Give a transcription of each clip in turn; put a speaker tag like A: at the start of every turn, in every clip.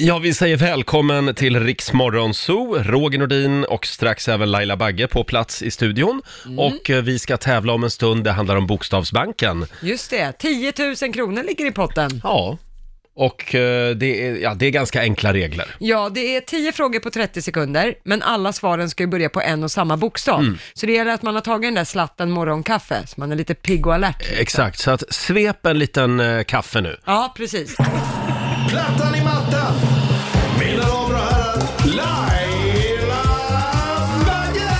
A: Ja, vi säger välkommen till Riksmorgon Zoo, Roger Nordin och strax även Laila Bagge på plats i studion.
B: Mm.
A: Och eh, vi ska tävla om en stund, det handlar om Bokstavsbanken.
C: Just det, 10 000 kronor ligger i potten.
A: Ja. Och eh, det är, ja, det är ganska enkla regler.
C: Ja, det är 10 frågor på 30 sekunder, men alla svaren ska ju börja på en och samma bokstav.
A: Mm.
C: Så det gäller att man har tagit den där slatten morgonkaffe, så man är lite pigg och alert.
A: Exakt, så att svep en liten eh, kaffe nu.
C: Ja, precis.
D: Plattan i mattan. Mina damer och herrar, Laila Bagge!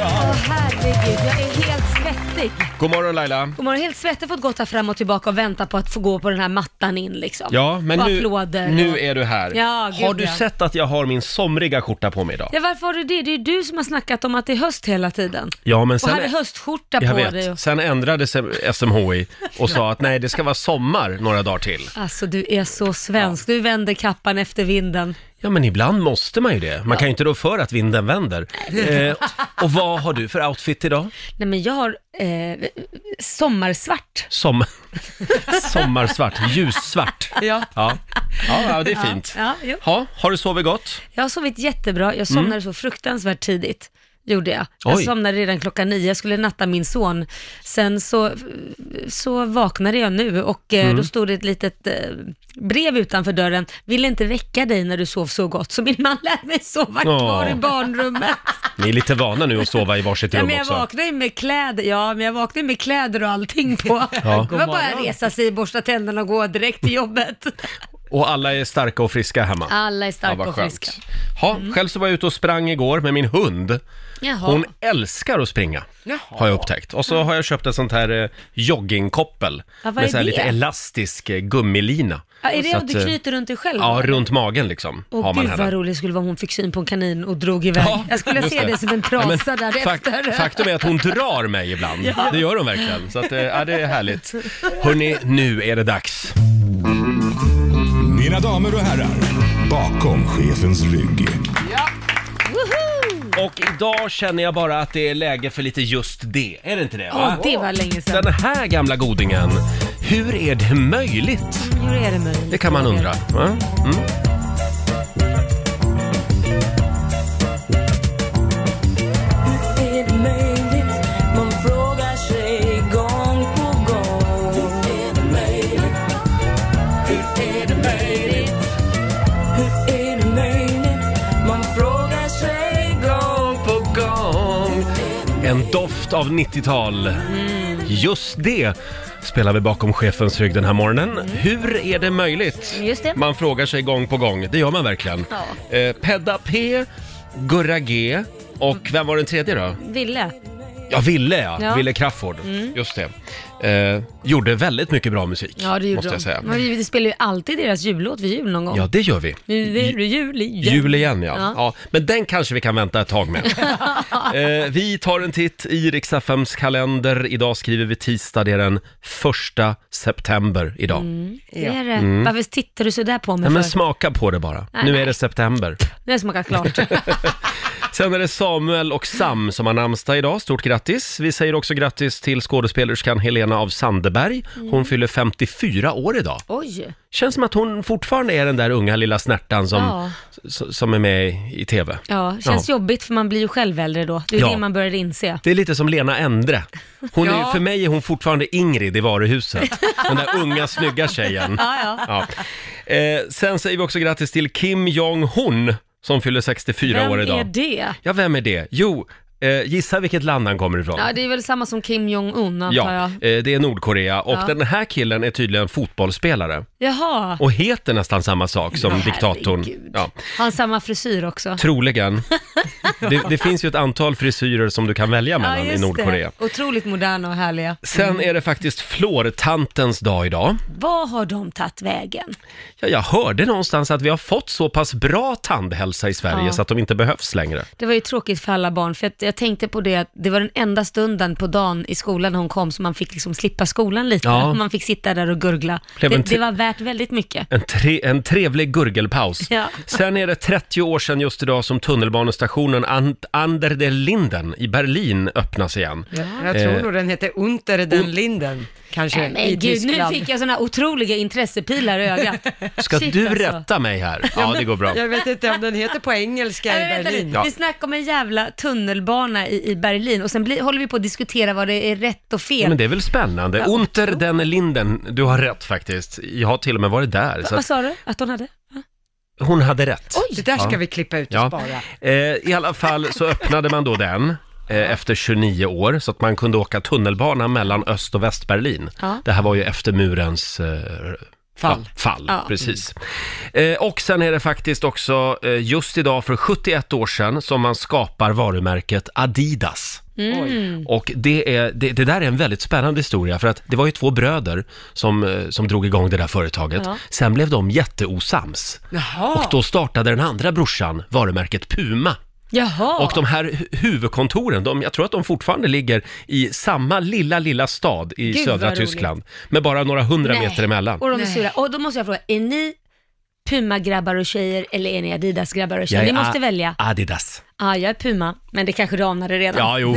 B: Åh herregud, jag är helt svettig.
A: God morgon Laila.
B: Och man har helt svettig fått gått här fram och tillbaka och vänta på att få gå på den här mattan in liksom.
A: Ja, men
B: och
A: nu,
B: applåder.
A: nu är du här.
B: Ja, gud,
A: har du
B: ja.
A: sett att jag har min somriga skjorta på mig idag?
B: Ja, varför har du det? Det är ju du som har snackat om att det är höst hela tiden.
A: Ja, men
B: Och
A: sen...
B: hade höstskjorta på
A: jag
B: dig. Och...
A: vet. Sen ändrade sig SMHI och sa att nej, det ska vara sommar några dagar till.
B: Alltså du är så svensk, du vänder kappan efter vinden.
A: Ja, men ibland måste man ju det. Man kan ju inte rå för att vinden vänder. Eh, och vad har du för outfit idag?
B: Nej men jag har eh, sommarsvart.
A: Som, sommarsvart, ljussvart.
C: Ja.
A: Ja. Ja, ja, det är fint.
B: Ja, jo.
A: Ha, har du sovit gott?
B: Jag har sovit jättebra, jag somnade så fruktansvärt tidigt. Gjorde jag. Jag
A: Mm. Oj.
B: somnade redan klockan nio, jag skulle natta min son. Sen så, så vaknade jag nu och eh,
A: Mm.
B: då stod det ett litet eh, brev utanför dörren. Vill inte väcka dig när du sov så gott, så min man lät mig sova kvar
A: Åh.
B: i barnrummet.
A: Ni är lite vana nu att sova i varsitt
B: ja,
A: rum
B: men jag
A: också.
B: vaknade ju med kläder, ja men jag vaknade ju med kläder och allting på. Det var bara att resa sig, borsta tänderna och gå direkt till jobbet.
A: Och alla är starka och friska hemma.
B: Alla är
A: Ja,
B: starka
A: vad
B: och friska. Mm.
A: skönt. Ha, själv så var jag ute och sprang igår med min hund.
B: Jaha.
A: Hon älskar att springa,
C: Jaha.
A: har jag upptäckt. Och så har jag köpt ett sånt här eh, joggingkoppel
B: Ja, vad
A: med
B: är
A: så här
B: det?
A: lite elastisk eh, gummilina.
B: Ja, är det
A: Så
B: att du
A: eh,
B: knyter runt dig själv?
A: Ja, runt magen liksom har
B: Åh
A: man
B: gud
A: henne.
B: vad roligt det skulle vara om hon fick syn på en kanin och drog iväg.
A: Ja,
B: jag skulle
A: just
B: se
A: det.
B: det som en
A: Ja, men
B: trasa därefter.
A: fak- faktum är att hon drar mig ibland. Det gör hon verkligen. Så att, eh, ja, det är härligt. Hörni, nu är det dags.
D: Mina damer och herrar, bakom chefens rygg.
B: Woho!
A: Och idag känner jag bara att det är läge för lite just det. Är det inte det? Va?
B: Åh, det var länge sedan.
A: Den här gamla godingen. Hur är det möjligt?
B: Hur är det möjligt?
A: Det kan man undra. va? Mm.
E: är det möjligt? Man frågar sig gång på gång. Hur är det möjligt? Hur är det möjligt? Hur är det möjligt? Man frågar sig gång
A: På gång. En doft av 90-tal. Just det spelar vi bakom chefens rygg den här morgonen. Hur är det möjligt?
B: Just det.
A: Man frågar sig gång på gång. Det gör man verkligen.
B: Ja.
A: Eh, Pedda P, Gurra G och vem var den tredje då?
B: Ville.
A: Ja, Ville ja.
B: Ja. Mm.
A: Ville Crafoord. Just det. Eh, gjorde väldigt mycket bra musik.
B: Ja, det gjorde
A: måste
B: de.
A: jag säga.
B: Men vi, vi spelar ju alltid deras jullåt vid jul någon gång.
A: Ja, det gör vi.
B: Nu är det jul igen.
A: Jul igen ja. ja.
B: Ja.
A: Men den kanske vi kan vänta ett tag med. eh, vi tar en titt i Riks-FMs kalender. Idag skriver vi tisdag, det är den första september idag.
B: Det är det. Varför tittar du så där på mig
A: Mm. Nej, men
B: för?
A: smaka på det bara. nu är det september.
B: Nu har jag smakat klart.
A: Sen är det Samuel och Sam som har namnsdag idag. Stort grattis. Vi säger också grattis till skådespelerskan Helena av Sandeberg.
B: Mm.
A: Hon fyller 54 år idag.
B: Oj.
A: Känns som att hon fortfarande är den där unga lilla snärtan som,
B: Ja.
A: s- som är med i- i TV.
B: Ja, känns jobbigt för man blir ju själv äldre då. Det är
A: Ja.
B: det man börjar inse.
A: Det är lite som Lena Endre. Hon är,
C: Ja.
A: för mig är hon fortfarande Ingrid i varuhuset. Den där unga snygga tjejen.
B: Ja,
A: Ja. Eh, sen säger vi också grattis till Kim Jong-Hun som fyller 64
B: Vem
A: år idag.
B: är det?
A: Ja, vem är det? Jo, eh, gissa vilket land han kommer ifrån.
B: Ja, det är väl samma som Kim Jong-Un antar
A: Ja,
B: jag.
A: eh, det är Nordkorea och
B: Ja.
A: den här killen är tydligen fotbollsspelare
B: Jaha.
A: och heter nästan samma sak som
B: Ja,
A: diktatorn.
B: herregud.
A: Ja,
B: Har han samma frisyr också?
A: troligen. Det, det finns ju ett antal frisyrer som du kan välja mellan i
B: just
A: Nordkorea.
B: Det. Otroligt moderna och härliga.
A: Sen är det faktiskt flårtantens dag idag.
B: Vad har de tagit vägen?
A: Ja, jag hörde någonstans att vi har fått så pass bra tandhälsa i Sverige
B: Ja.
A: så att de inte behövs längre.
B: Det var ju tråkigt för alla barn, för att jag jag tänkte på det, att det var den enda stunden på dagen i skolan när hon kom som man fick liksom slippa skolan lite.
A: Ja.
B: Och Man fick sitta där och gurgla. Det,
A: Blev en ti-
B: det var värt väldigt mycket.
A: En, tre, en trevlig gurgelpaus.
B: Ja.
A: Sen är det 30 år sedan just idag som tunnelbanestationen Ant- Under der Linden i Berlin öppnas igen.
C: Jag tror
A: Eh.
C: nog den heter Unter den Linden, kanske,
B: Nej,
C: i
B: men gud, nu
C: Tyskland.
B: fick jag sådana otroliga intressepilar i ögat.
A: Ska
B: Shit,
A: du
B: alltså.
A: rätta mig här? Ja, det går bra.
C: Jag vet inte om den heter på engelska
B: Nej,
C: i
B: men vänta
C: Berlin.
B: nu. Vi snackar om en jävla tunnelbana i, i Berlin och sen blir, håller vi på att diskutera vad det är rätt och fel.
A: Ja, men det är väl spännande. Unter den Linden, du har rätt faktiskt. Jag har till och med varit där. Så
B: Vad
A: att
B: sa du att hon hade?
A: hon hade rätt.
C: Det där ska
A: Ja.
C: vi klippa ut och
A: Ja.
C: spara.
A: Eh, I alla fall så öppnade man då den eh, efter 29 år så att man kunde åka tunnelbana mellan Öst och Västberlin.
B: Ja.
A: Det här var ju efter murens eh,
C: Fall.
A: Ja, fall,
B: Ja.
A: precis. Eh, och sen är det faktiskt också eh, just idag för 71 år sedan som man skapar varumärket Adidas.
C: Oj.
A: Och det, är, det, det där är en väldigt spännande historia för att det var ju två bröder som, eh, som drog igång det där företaget.
B: Ja.
A: Sen blev de jätteosams och
B: Ah.
C: Jaha,
A: då startade den andra brorsan varumärket Puma.
B: Jaha.
A: Och de här hu- huvudkontoren, de, jag tror att de fortfarande ligger i samma lilla, lilla stad i
B: Gud,
A: södra
B: vad roligt.
A: Tyskland. Med bara några hundra
B: Nej.
A: meter emellan.
B: Och de är sura. Och då måste jag fråga, är ni Puma-grabbar och tjejer eller är ni Adidas-grabbar och tjejer? Ni måste
A: A-
B: välja.
A: Adidas.
B: Ja, jag är Puma, men det kanske du anade redan.
A: Ja, jo.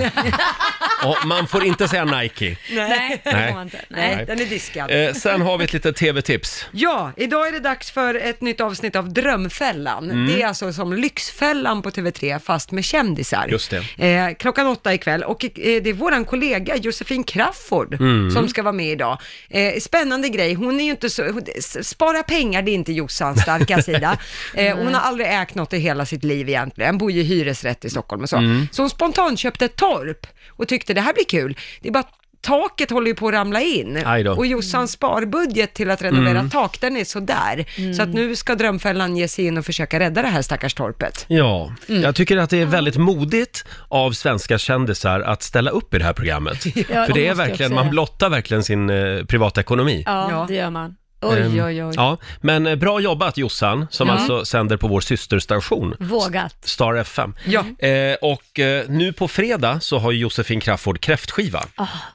A: Och man får inte säga Nike.
B: Nej,
A: Nej.
B: det får man inte. Nej.
C: den är diskad.
A: Eh, sen har vi ett litet tv-tips.
C: Ja, idag är det dags för ett nytt avsnitt av Drömfällan. Det är alltså som Lyxfällan på TV3, fast med kändisar.
A: Just
C: Eh, klockan åtta ikväll och eh, det är våran kollega Josefin Crafoord som ska vara med idag. Eh, spännande grej, hon är ju inte så, hon- s- spara pengar det är inte Jossans starka sida. Eh, hon har aldrig ägt något i hela sitt liv egentligen, bor ju i hyresrätt i Stockholm och så. Så hon spontant köpte ett torp och tyckte det här blir kul. Det är bara att Taket håller ju på att ramla in
A: Aj då. Mm.
C: och Jossans sparbudget till att renovera tak, den är sådär.
B: Mm.
C: Så att nu ska Drömfällan ge sig in och försöka rädda det här stackars torpet.
A: Ja,
B: Mm.
A: jag tycker att det är väldigt modigt av svenska kändisar att ställa upp i det här programmet. För
B: måste
A: det är
B: jag
A: verkligen,
B: också
A: man
B: säga.
A: blottar verkligen sin eh, privatekonomi.
B: Ja,
C: Ja.
B: det gör man. Oj, oj, oj.
A: Ehm, Ja, men eh, bra jobbat Jossan, som alltså sänder på vår systerstation.
B: Vågat.
A: Star FM.
C: Ja.
A: Eh, och eh, nu på fredag så har ju Josefin Crafoord kräftskiva.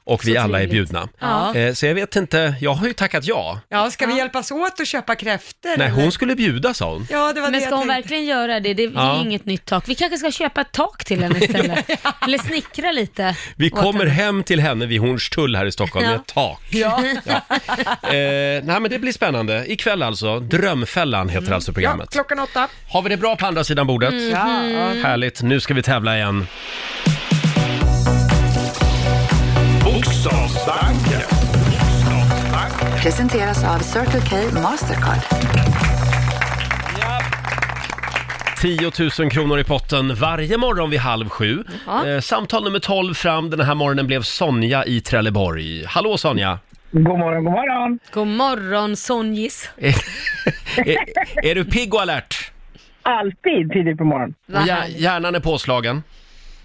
A: och vi
B: Ah, så
A: alla är
B: trevligt.
A: bjudna.
B: Ja.
A: Eh, så jag vet inte, jag har ju tackat ja.
C: Ja, ska vi hjälpas åt att köpa kräftor?
A: Nej,
C: eller?
A: hon skulle bjuda sa hon.
C: Ja, det var
B: Men
C: det
B: ska
C: jag
B: hon
C: tänkte.
B: verkligen göra det? Det är
A: Ja.
B: inget nytt tak. Vi kanske ska köpa ett tak till henne istället. Eller snickra lite.
A: Vi
B: åt
A: kommer
B: henne.
A: hem till henne vid Hornstull här i Stockholm med
B: Ja.
A: ett tak. Eh, nej men det blir spännande. Ikväll alltså, Drömfällan heter
B: Mm.
A: alltså
C: Ja,
A: programmet.
C: klockan åtta.
A: Har vi det bra på andra sidan bordet?
C: Ja, ja.
A: Härligt, nu ska vi tävla igen.
D: Bokstavsbanken.
F: Presenteras av Circle K Mastercard.
A: 10 000 kronor i potten varje morgon vid halv sju. Eh, samtal nummer 12 fram den här morgonen blev Sonja i Trelleborg. Hallå Sonja!
G: God morgon, god morgon.
B: God morgon Sonjis.
A: är, Eh, är du pigg och alert?
G: Alltid tidigt på morgonen.
A: Och hjär- hjärnan är påslagen?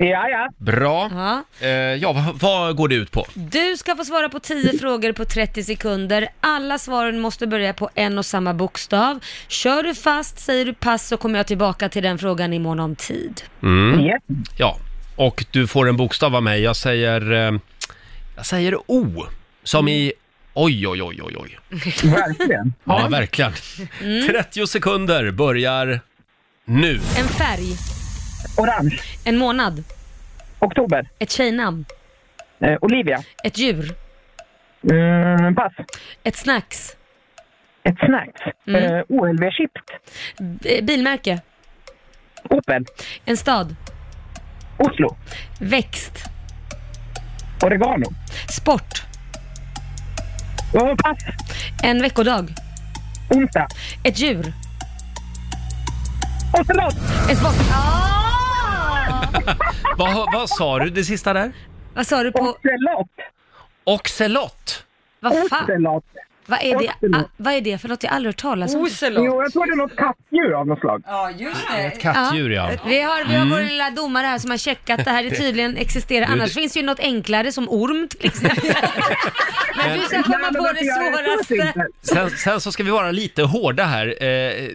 G: Ja, ja.
A: Bra.
B: Ja.
A: Eh, ja, vad, vad går det ut på?
B: Du ska få svara på 10 frågor på 30 sekunder. Alla svaren måste börja på en och samma bokstav. Kör du fast, säger du pass så kommer jag tillbaka till den frågan i mån om tid.
A: Mm.
G: Yes.
A: Ja, och du får en bokstav av mig. Jag säger... Eh, jag säger O, som i... Oj, oj, oj, oj, oj.
G: Verkligen.
A: Ja, verkligen. 30 sekunder börjar nu.
B: En färg,
G: Orange.
B: en månad,
G: Oktober.
B: ett tjejnamn,
G: Eh, Olivia.
B: ett djur,
G: Mm, pass.
B: ett snacks,
G: Ett snacks.
B: Mm.
G: Eh, OLV-chipt.
B: b- eh, bilmärke,
G: Opel.
B: en stad,
G: Oslo.
B: växt,
G: Oregano.
B: sport,
G: Oh, pass.
B: en veckodag,
G: Onsdag.
B: ett djur,
G: Ocelot.
B: en sport.
A: Vad, vad sa du det sista där?
B: Vad sa du på...
G: Ocelot.
A: Oxelott.
B: Vad fan?
G: Ocelot.
B: Vad är det,
G: Ocelot.
B: ah, vad är det för något? Jag har aldrig hört talas om.
G: Jo,
C: Ocelot.
G: jag tror det är något kattdjur av något slag.
C: Ja, just det.
A: Kattdjur ja.
B: Vi har, vi har vår lilla domare här som har checkat det här det tydligen existerar. Annars finns ju något enklare som orm till exempel. Men du ska komma
G: Nej, men
B: på
G: alltså,
B: det
G: jag- jag tror
B: svåraste.
G: inte.
A: Sen, sen så ska vi vara lite hårda här. Eh,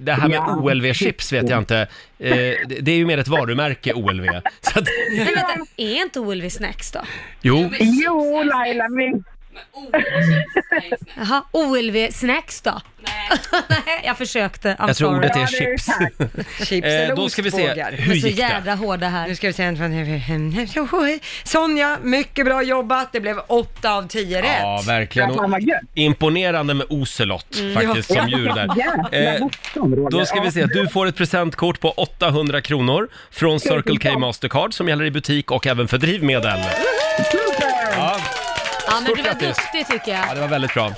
A: det här med
G: Ja.
A: OLV-chips vet jag inte. Eh, det- det är ju mer ett varumärke, OLV. Så att,
B: Men vänta, är inte OLV snacks då?
A: jo,
G: Jo, Laila, men
B: Jaha, OLV snacks då? Nej, jag försökte. I'm
A: jag tror
B: sorry.
A: ordet är
G: Ja, det är
A: chips.
G: tack.
C: Chips
A: Eh,
C: eller
A: då ska vi se,
C: ostbågar.
A: hur
B: Men så
A: gick det?
B: jädra hårda
C: Nu
B: här.
C: ska vi se, från- Sonja, mycket bra jobbat. Det blev 8 av 10 rätt.
A: Ja, verkligen.
G: fan
A: Och
G: vad gött.
A: imponerande med ocelot
B: Mm.
A: faktiskt som djur där.
G: Jävla
A: Eh,
G: motstånd, Roger.
A: Då ska vi se, du får ett presentkort på 800 kronor från Circle K Mastercard som gäller i butik och även för drivmedel.
G: Super!
A: Ja,
B: Ja, men
A: Stort
B: du var
A: grattis.
B: duktig tycker jag.
A: ja, det var väldigt bra.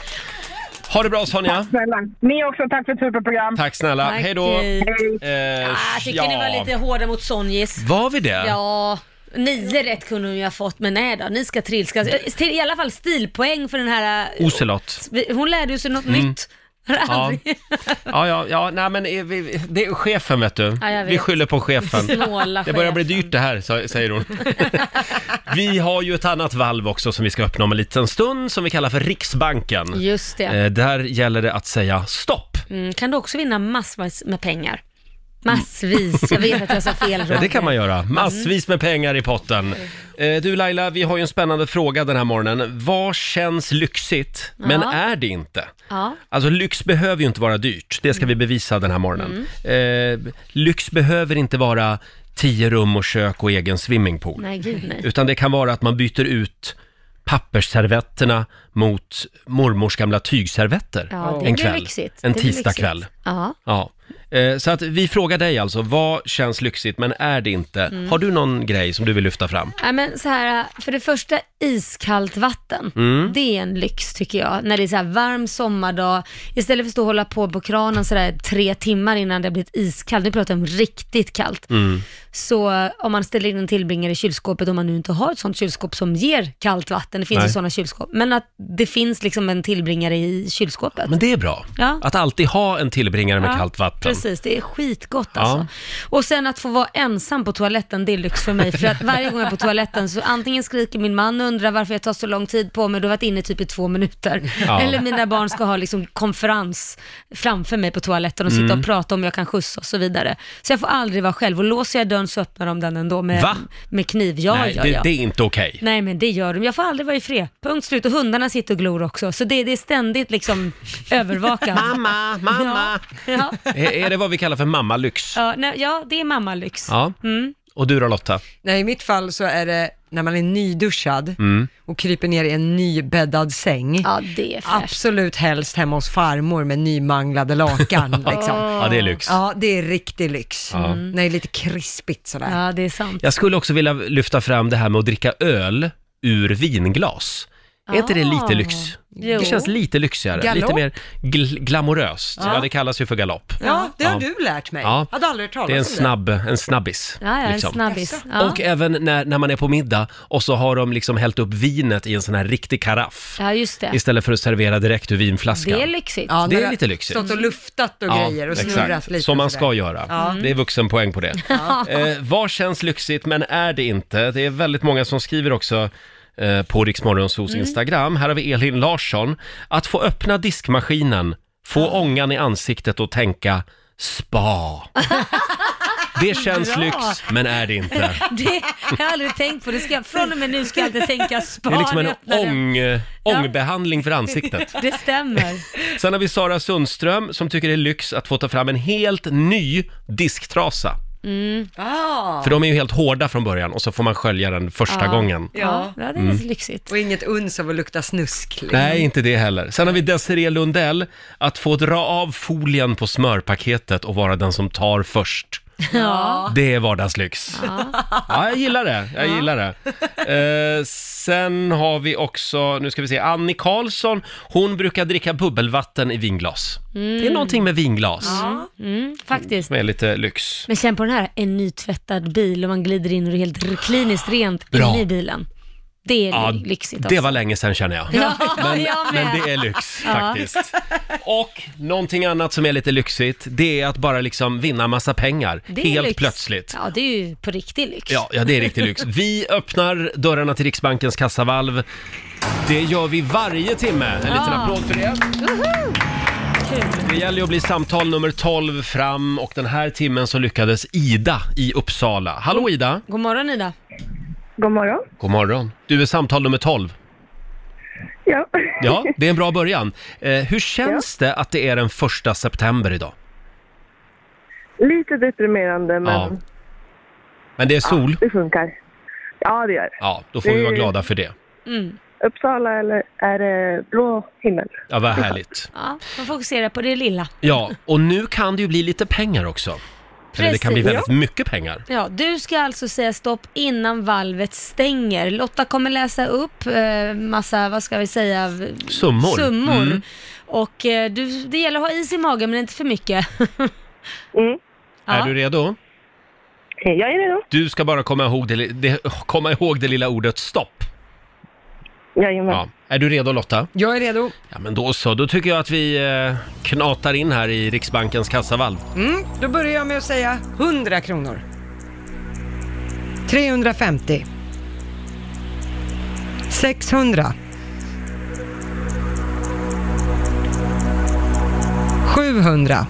A: Ha det bra Sonja.
G: Snälla. Ni också, tack för ett superprogram.
A: Tack snälla.
B: Tack.
A: Hej då.
G: Hej.
A: Eh,
B: Ah, Jag tycker ni var lite hårda mot Sonjis.
A: Var vi det?
B: Ja, nio rätt kunde hon ju ha fått, men nej då, ni ska trilskas. Till, I alla fall stilpoäng för den här... eh,
A: Ocelot.
B: Hon lärde ju sig något nytt. Har aldrig-
A: Mm. Ja, ja, ja, nej men eh, vi, det är chefen vet du.
B: Ja, jag
A: Vi
B: vet.
A: skyller på chefen.
B: Snåla
A: Det börjar bli
B: chefen.
A: dyrt det här, sa- säger hon. vi har ju ett annat valv också som vi ska öppna om en liten stund som vi kallar för Riksbanken.
B: Just det.
A: Eh, där gäller det att säga stopp.
B: Mm, kan du också vinna massvis med pengar? Massvis, jag vet att jag sa fel.
A: Ja, det
B: Roger.
A: kan man göra.
B: Mm.
A: Massvis med pengar i potten. Eh, du Laila, vi har ju en spännande fråga den här morgonen. Vad känns lyxigt, men
B: Ja.
A: är det inte?
B: Ja. Mm.
A: Alltså lyx behöver ju inte vara dyrt, det ska vi bevisa den här morgonen. Eh, lyx behöver inte vara tio rum och kök och egen swimmingpool.
B: Nej, gud nej.
A: Utan det kan vara att man byter ut pappersservetterna mot mormors gamla tygservetter
B: Ja, det
A: en
B: blir
A: kväll.
B: lyxigt.
A: En
B: Det blir
A: tisdagkväll.
B: lyxigt. Ja.
A: Ja. Eh, Så att vi frågar dig alltså, vad känns lyxigt men är det inte?
B: Mm.
A: Har du någon grej som du vill lyfta fram?
B: Nej, men så här, för det första iskallt vatten. Det är en lyx tycker jag. När det är så här varm sommardag, istället för att stå och hålla på på kranen så där, tre timmar innan det har blivit iskallt, nu pratar jag om riktigt kallt. Så eh, om man ställer in en tillbringare i kylskåpet, om man nu inte har ett sånt kylskåp som ger kallt vatten, det finns
A: Nej.
B: ju sådana kylskåp, men att det finns liksom en tillbringare i kylskåpet.
A: Men det är bra.
B: Ja.
A: Att alltid ha en tillbringare med
B: Ja,
A: kallt vatten.
B: Precis, det är skitgott
A: Ja.
B: alltså. Och sen att få vara ensam på toaletten, det är lyx för mig. För att varje gång jag är på toaletten så antingen skriker min man och undrar varför jag tar så lång tid på mig, du har varit inne typ i två minuter.
A: Ja.
B: Eller mina barn ska ha liksom konferens framför mig på toaletten och sitta
A: Mm.
B: och prata om jag kan skjutsa och så vidare. Så jag får aldrig vara själv och låser jag dörren så öppnar de den ändå med,
A: Va?
B: med kniv. Ja,
A: Nej,
B: ja,
A: det,
B: ja.
A: det är inte okej.
B: Nej men det gör de. Jag får aldrig vara i fred. Punkt slut. Och hundarna sitter och glor också. Så det, det är ständigt liksom övervakat.
A: Mamma, mamma!
B: Ja. Ja.
A: Är, är det vad vi kallar för mammalyx?
B: Ja, Mm. nej, ja det är mammalyx.
A: Ja. Och du då Lotta?
C: Nej, i mitt fall så är det när man är nyduschad
A: Mm.
C: och kryper ner i en nybäddad säng.
B: Ja, det är fräscht.
C: Absolut helst hemma hos farmor med nymanglade lakan. liksom.
A: Ja, det är lyx.
C: Ja, det är riktig lyx. När det är lite krispigt sådär.
B: Ja, det är sant.
A: Jag skulle också vilja lyfta fram det här med att dricka öl ur vinglas. Är inte det lite lyx?
B: Ah. Jo.
A: Det känns lite lyxigare, lite
C: Galopp?
A: mer gl- glamoröst. Ja. det kallas ju för galopp.
C: Ja, det har
A: Ja.
C: du lärt mig.
A: Ja.
C: Hade aldrig hört talas
A: Det är en
C: om
A: snabb, en snabbis.
B: Ja, ja, en
A: liksom.
B: snabbis. Ja.
A: Och även när, när man är på middag och så har de liksom hällt upp vinet i en sån här riktig karaff.
B: ja, just det.
A: Istället för att servera direkt ur vinflaskan.
B: Det är lyxigt.
C: Ja,
A: Det är
C: när jag
A: lite lyxigt.
C: Stått och luftat och
A: Ja,
C: grejer och
A: exakt.
C: snurrat lite.
A: Som
C: och
A: man
C: sådär.
A: ska göra. Mm. Det är vuxenpoäng på det. Eh, vad känns lyxigt men är det inte? Det är väldigt många som skriver också eh, på Riksmorgonsos Instagram. Här har vi Elin Larsson. Att få öppna diskmaskinen, få ångan i ansiktet och tänka spa. Det känns
B: Bra.
A: lyx, men är det inte.
B: Det har jag aldrig tänkt på. Det ska, jag- från och med nu ska jag alltid tänka spa.
A: Det är liksom
B: när
A: en
B: jag öppnar den.
A: ång, ångbehandling för ansiktet.
B: Det stämmer.
A: Sen har vi Sara Sundström som tycker det är lyx att få ta fram en helt ny disktrasa.
C: Ah,
A: För de är ju helt hårda från början och så får man skölja den första gången.
B: Ja, ja det är
A: Mm.
B: lyxigt.
C: och inget uns av att lukta snusk. liksom.
A: Nej, inte det heller. Sen har vi Desiree Lundell, att få dra av folien på smörpaketet och vara den som tar först.
B: Ja.
A: Det är vardagslyx. Ja, jag gillar det. Jag gillar det. Eh, sen har vi också, nu ska vi se, Annie Karlsson, hon brukar dricka bubbelvatten i vinglas. Det är någonting med vinglas
B: Mm, faktiskt.
A: som är lite lyx.
B: Men känn på den här, en nytvättad bil och man glider in och det är helt kliniskt rent
A: Bra.
B: inne i bilen. Det är
A: Ja,
B: lyxigt också.
A: det var länge sedan känner jag.
B: Ja,
A: Men,
B: jag med.
A: men det är lyx
B: Ja.
A: faktiskt. Och någonting annat som är lite lyxigt, det är att bara liksom vinna massa pengar
B: Det är
A: helt
B: lyx.
A: plötsligt.
B: Ja, det är ju på riktig lyx.
A: Ja, ja, det är riktigt lyx. Vi öppnar dörrarna till Riksbankens kassavalv. Det gör vi varje timme. En liten
B: Ja.
A: applåd för det. Det gäller ju att bli samtal nummer 12 fram och den här timmen så lyckades Ida i Uppsala.
B: Mm.
A: Hallå Ida!
B: God morgon Ida.
G: God morgon.
A: God morgon. Du är samtal nummer 12.
G: Ja.
A: Ja, det är en bra början. Eh, hur känns det att det är den första september idag?
G: Lite deprimerande, men
A: Ja. Men det är sol.
G: det funkar. Ja, det gör det.
A: Ja, då får vi vara glada för det.
G: Uppsala eller är det blå himmel?
A: Ja, vad härligt.
B: Ja, man fokuserar på det lilla.
A: Ja, och nu kan det ju bli lite pengar också. Eller det kan bli
B: Precis.
A: väldigt mycket pengar.
B: Ja, du ska alltså säga stopp innan valvet stänger. Lotta kommer läsa upp eh, massa, vad ska vi säga, v-
A: Summor.
B: summor.
A: Mm.
B: Och eh, du, det gäller att ha is i magen men inte för mycket.
G: Mm.
A: Är
B: Ja.
A: du redo?
G: Jag är redo.
A: Du ska bara komma ihåg det, li- det, komma ihåg det lilla ordet stopp.
G: Jajamän.
A: Ja. Är du redo Lotta?
C: Jag är redo.
A: Ja men då så, då tycker jag att vi eh, knatar in här i Riksbankens kassavalv.
C: Mm, då börjar jag med att säga 100 kronor. 350. 600. 700.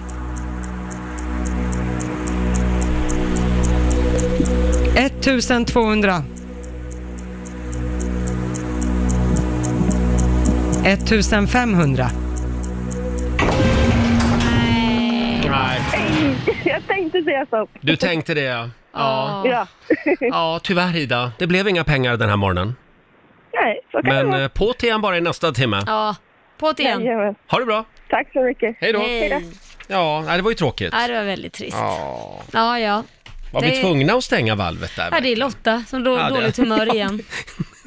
C: 1200. 1500.
A: Nej.
G: Jag tänkte säga stopp.
A: Du tänkte det ja.
B: Ja.
G: Ja.
A: Ja, tyvärr Ida. Det blev inga pengar den här morgonen.
G: Nej, så kan
A: Men
G: det
A: eh, på till igen bara i nästa timme.
B: Ja, på till
G: vara.
B: igen.
G: Jajamän.
A: Ha det bra!
G: Tack så mycket.
A: Hej då!
B: Hej.
A: Ja, nej, det var ju tråkigt.
B: Ja, det var väldigt trist.
A: Ja,
B: Ja, ja.
A: var vi
B: Det-
A: tvungna att stänga valvet där?
B: Ja, det är Lotta som då,
A: Ja, det-
B: dåligt humör igen.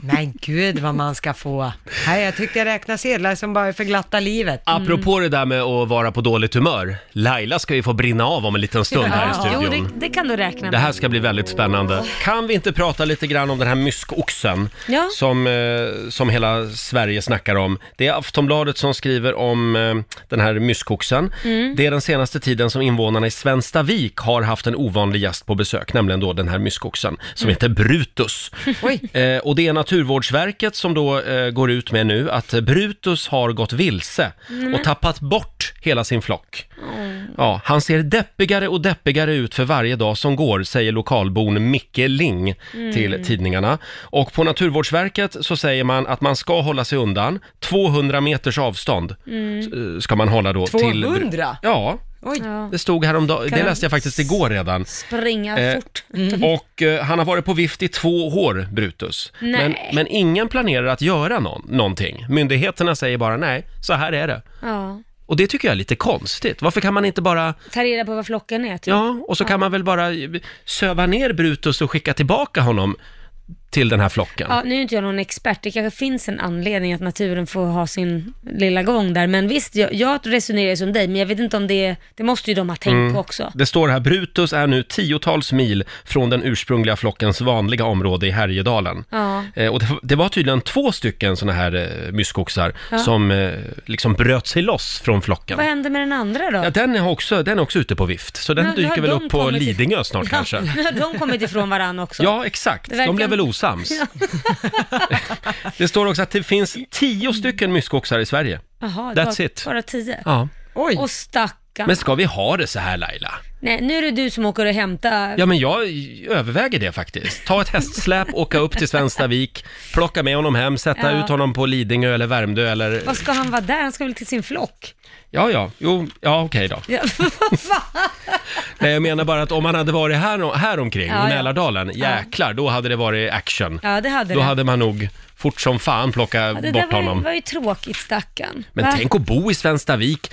C: Men gud vad man ska få. Nej, jag tyckte jag räknade sedlar som bara är för glatta livet.
B: Mm.
A: Apropå det där med att vara på dåligt humör. Laila ska ju få brinna av om en liten stund här i
B: Ja. Jo,
A: studion.
B: det, det kan du räkna
A: Det
B: med.
A: här ska bli väldigt spännande. Kan vi inte prata lite grann om den här myskoxen
B: Ja.
A: som, eh, som hela Sverige snackar om? Det är Aftonbladet som skriver om eh, den här myskoxen. Det är den senaste tiden som invånarna i Svenstavik har haft en ovanlig gäst på besök, nämligen då den här myskoxen som heter Brutus.
C: Oj.
A: Eh, och det är Naturvårdsverket som då eh, går ut med nu att Brutus har gått vilse och tappat bort hela sin flock. Ja, han ser deppigare och deppigare ut för varje dag som går, säger lokalbon Micke Ling till tidningarna. Och på Naturvårdsverket så säger man att man ska hålla sig undan. 200 meters avstånd eh, ska man hålla då till...
C: 200?
A: Ja,
C: Oj.
B: Ja.
A: det stod häromdagen. Det
B: Kan-
A: läste jag faktiskt igår redan.
B: Springa
A: Eh,
B: fort. Mm.
A: Och eh, han har varit på vift i två år, Brutus. Men,
B: Nej.
A: men ingen planerar att göra någon, någonting. Myndigheterna säger bara nej, så här är det.
B: Ja.
A: Och det tycker jag är lite konstigt. Varför kan man inte bara,
B: Ta reda på vad flocken är. Typ.
A: ja, och så kan man väl bara eh, söva ner Brutus och skicka tillbaka honom till den här flocken.
B: Ja, nu är inte jag någon expert, det kanske finns en anledning att naturen får ha sin lilla gång där. Men visst, jag, jag resonerar ju som dig, men jag vet inte om det, det måste ju de ha tänkt
A: Mm.
B: på också.
A: Det står här, Brutus är nu tiotals mil från den ursprungliga flockens vanliga område i Härjedalen.
B: Ja.
A: Eh, och det, det var tydligen två stycken sådana här eh, myskoxar som eh, liksom bröt sig loss från flocken.
B: Vad händer med den andra då?
A: Ja, den är också, den är också ute på vift, så den
B: Nu- nu
A: dyker
B: har
A: väl
B: de
A: upp på
B: kommit-
A: Lidingö snart
B: Ja,
A: kanske.
B: Nu har de kommit ifrån varandra också.
A: Ja, exakt.
B: Det verkar-
A: De blev väl osams. det står också att det finns tio stycken myskoxar i Sverige.
B: Jaha, det
A: That's
B: var,
A: it.
B: bara tio.
A: Ja.
C: Oj.
B: Och stackarn.
A: Men ska vi ha det så här Laila?
B: Nej, nu är det du som åker och hämtar.
A: Ja, men jag överväger det faktiskt. Ta ett hästsläp, åka upp till Svenstavik, plocka med honom hem, sätta
B: Ja.
A: ut honom på Lidingö eller Värmdö eller...
B: Vad ska han vara där? Han ska väl till sin flock?
A: Ja, ja, jo, ja okej då.
B: Ja, vad fan?
A: Nej, jag menar bara att om han hade varit här, här omkring,
B: Ja, ja.
A: i Mälardalen, jäklar, då hade det varit action.
B: Ja, det hade
A: Då
B: det.
A: hade man nog fort som fan plockat
B: ja, det
A: bort
B: där var, ju-
A: honom.
B: var ju tråkigt stackarn.
A: Men
B: Va?
A: tänk att bo i Svenstavik,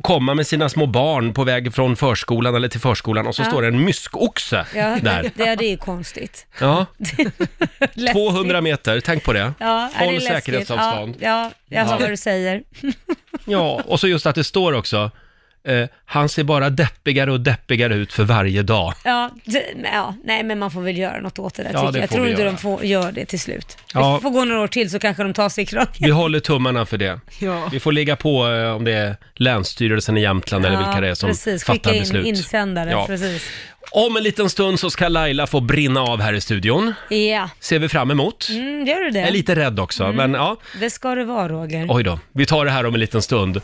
A: komma med sina små barn på väg från förskolan eller till förskolan och så står det en myskoxe
B: Ja,
A: där.
B: Det, det är ju konstigt.
A: Ja,
B: Läskigt.
A: 200 meter, tänk på det.
B: Ja, är det
A: Håll
B: läskigt?
A: säkerhetsavstånd.
B: Ja, ja jag hör vad du säger.
A: Ja, och så just att det står också eh, han ser bara deppigare och deppigare ut för varje dag.
B: Ja, det, men ja, nej men man får väl göra något åt det där
A: Ja,
B: tycker
A: det
B: jag. Jag
A: får
B: tror
A: vi
B: inte
A: göra.
B: de får, gör det till slut.
A: Ja.
B: Vi får gå några år till så kanske de tar sig i kragen.
A: Vi håller tummarna för det.
C: Ja.
A: Vi får ligga på eh, om det är Länsstyrelsen i Jämtland eller vilka det är som
B: precis.
A: fattar
B: Skicka in
A: beslut.
B: insändare,
A: Ja.
B: precis.
A: Om en liten stund så ska Laila få brinna av här i studion.
B: Ja,
A: Ser vi fram emot.
B: mm, gör du det?
A: Jag är lite rädd också, men ja.
B: Det ska du vara Roger.
A: Oj då, vi tar det här om en liten stund.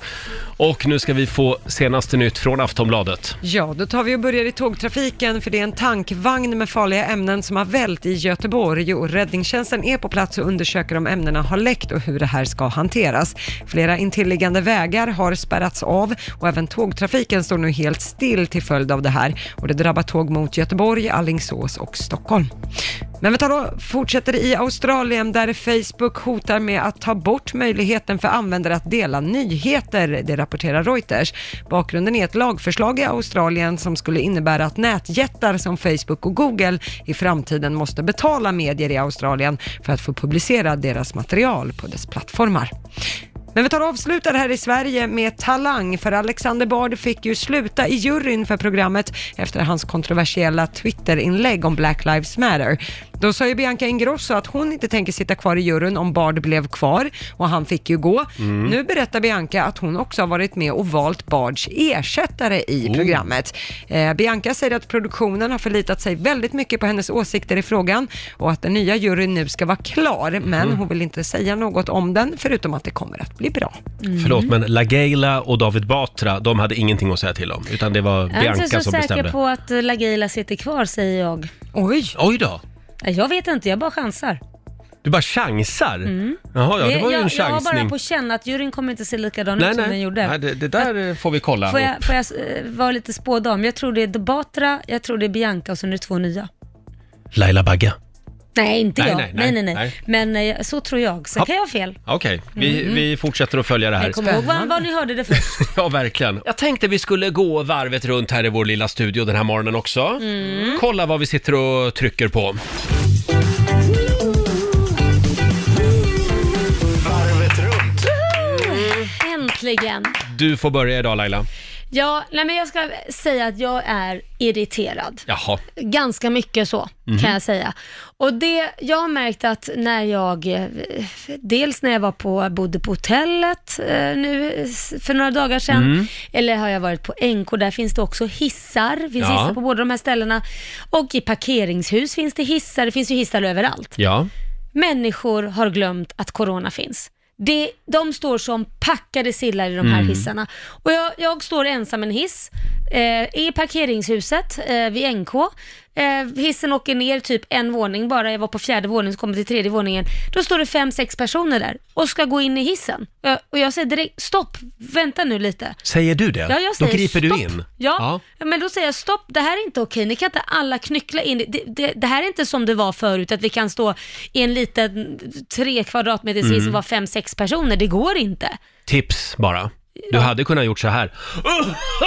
A: Och nu ska vi få senaste nytt från Aftonbladet.
C: Ja, då tar vi och börjar i tågtrafiken för det är en tankvagn med farliga ämnen som har vält i Göteborg och räddningstjänsten är på plats och undersöker om ämnena har läckt och hur det här ska hanteras. Flera intilliggande vägar har spärrats av och även tågtrafiken står nu helt still till följd av det här och det drabbar tåg mot Göteborg, Alingsås och Stockholm. Men vi tar då, fortsätter i Australien där Facebook hotar med att ta bort möjligheten för användare att dela nyheter, det rapporterar Reuters. Bakgrunden är ett lagförslag i Australien som skulle innebära att nätjättar som Facebook och Google i framtiden måste betala medier i Australien för att få publicera deras material på dess plattformar. Men vi tar och avslutar här i Sverige med Talang, för Alexander Bard fick ju sluta i juryn för programmet efter hans kontroversiella Twitterinlägg om Black Lives Matter. Då sa ju Bianca Ingrosso att hon inte tänker sitta kvar i juryn om Bard blev kvar och han fick ju gå. Nu berättar Bianca att hon också har varit med och valt Bards ersättare i programmet. Eh, Bianca säger att produktionen har förlitat sig väldigt mycket på hennes åsikter i frågan och att den nya juryn nu ska vara klar, men hon vill inte säga något om den, förutom att det kommer att bli bra.
B: Mm.
A: Förlåt, men LaGeila och David Batra, de hade ingenting att säga till om, utan det var
B: jag är inte
A: Bianca
B: så
A: som
B: säker
A: bestämde.
B: på att eh, Lagila sitter kvar säger jag.
C: Oj!
A: Oj då!
B: Nej, Jag vet inte, jag bara chansar.
A: Du bara chansar? Jaha, ja, det var ju
B: Mm. jag,
A: en
B: jag har bara
A: chansning.
B: på känn att juryn kommer inte se likadan ut
A: Nej,
B: som den
A: nej,
B: gjorde.
A: nej det, det där får vi kolla.
B: Får jag, får jag eh, vara lite spådam? Jag tror det är Debatra, jag tror det är Bianca och sen är det två nya.
A: Laila Bagge.
B: Mm, Nej, inte
A: Nej,
B: jag.
A: nej,
B: Nej,
A: nej,
B: nej, nej.
A: nej.
B: Men eh, så tror jag. Sen
A: Hopp.
B: kan jag ha fel.
A: Okej,
B: mm,
A: vi, vi fortsätter att följa det här.
B: Men kom ihåg var, var ni hörde det först.
A: Ja, verkligen. Jag tänkte vi skulle gå varvet runt här i vår lilla studio den här morgonen också.
B: Mm.
A: Kolla vad vi sitter och trycker på.
H: Varvet runt.
B: Äntligen.
A: Du får börja idag Laila.
B: Ja, nej men jag ska säga att jag är irriterad.
A: Jaha.
B: Ganska mycket så, kan jag säga. Och det, jag har märkt att när jag, eh, dels när jag var på, bodde på hotellet eh, nu eh, s- för några dagar sedan, eller har jag varit på NK, där finns det också hissar, finns
A: Ja.
B: hissar på båda de här ställena. Och i parkeringshus finns det hissar, det finns ju hissar överallt.
A: Ja.
B: Människor har glömt att corona finns. Det, de står som packade sillar i de här hissarna. Och jag, jag står ensam i en hiss eh, i parkeringshuset eh, vid NK. Eh, hissen åker ner typ en våning bara. Jag var på fjärde våningen, så kom jag till tredje våningen. Då står det fem, sex personer där och ska gå in i hissen. Eh, och jag säger direkt, stopp, vänta nu lite.
A: Säger du det?
B: Ja, jag säger
A: Då griper
B: stopp.
A: du in?
B: Ja. men då säger jag stopp, det här är inte okej, ni kan inte alla knyckla in. Det, det, det här är inte som det var förut, att vi kan stå i en liten tre kvadratmeters
A: Mm.
B: hiss och vara fem, sex personer, det går inte.
A: Tips bara. Du hade kunnat gjort så här.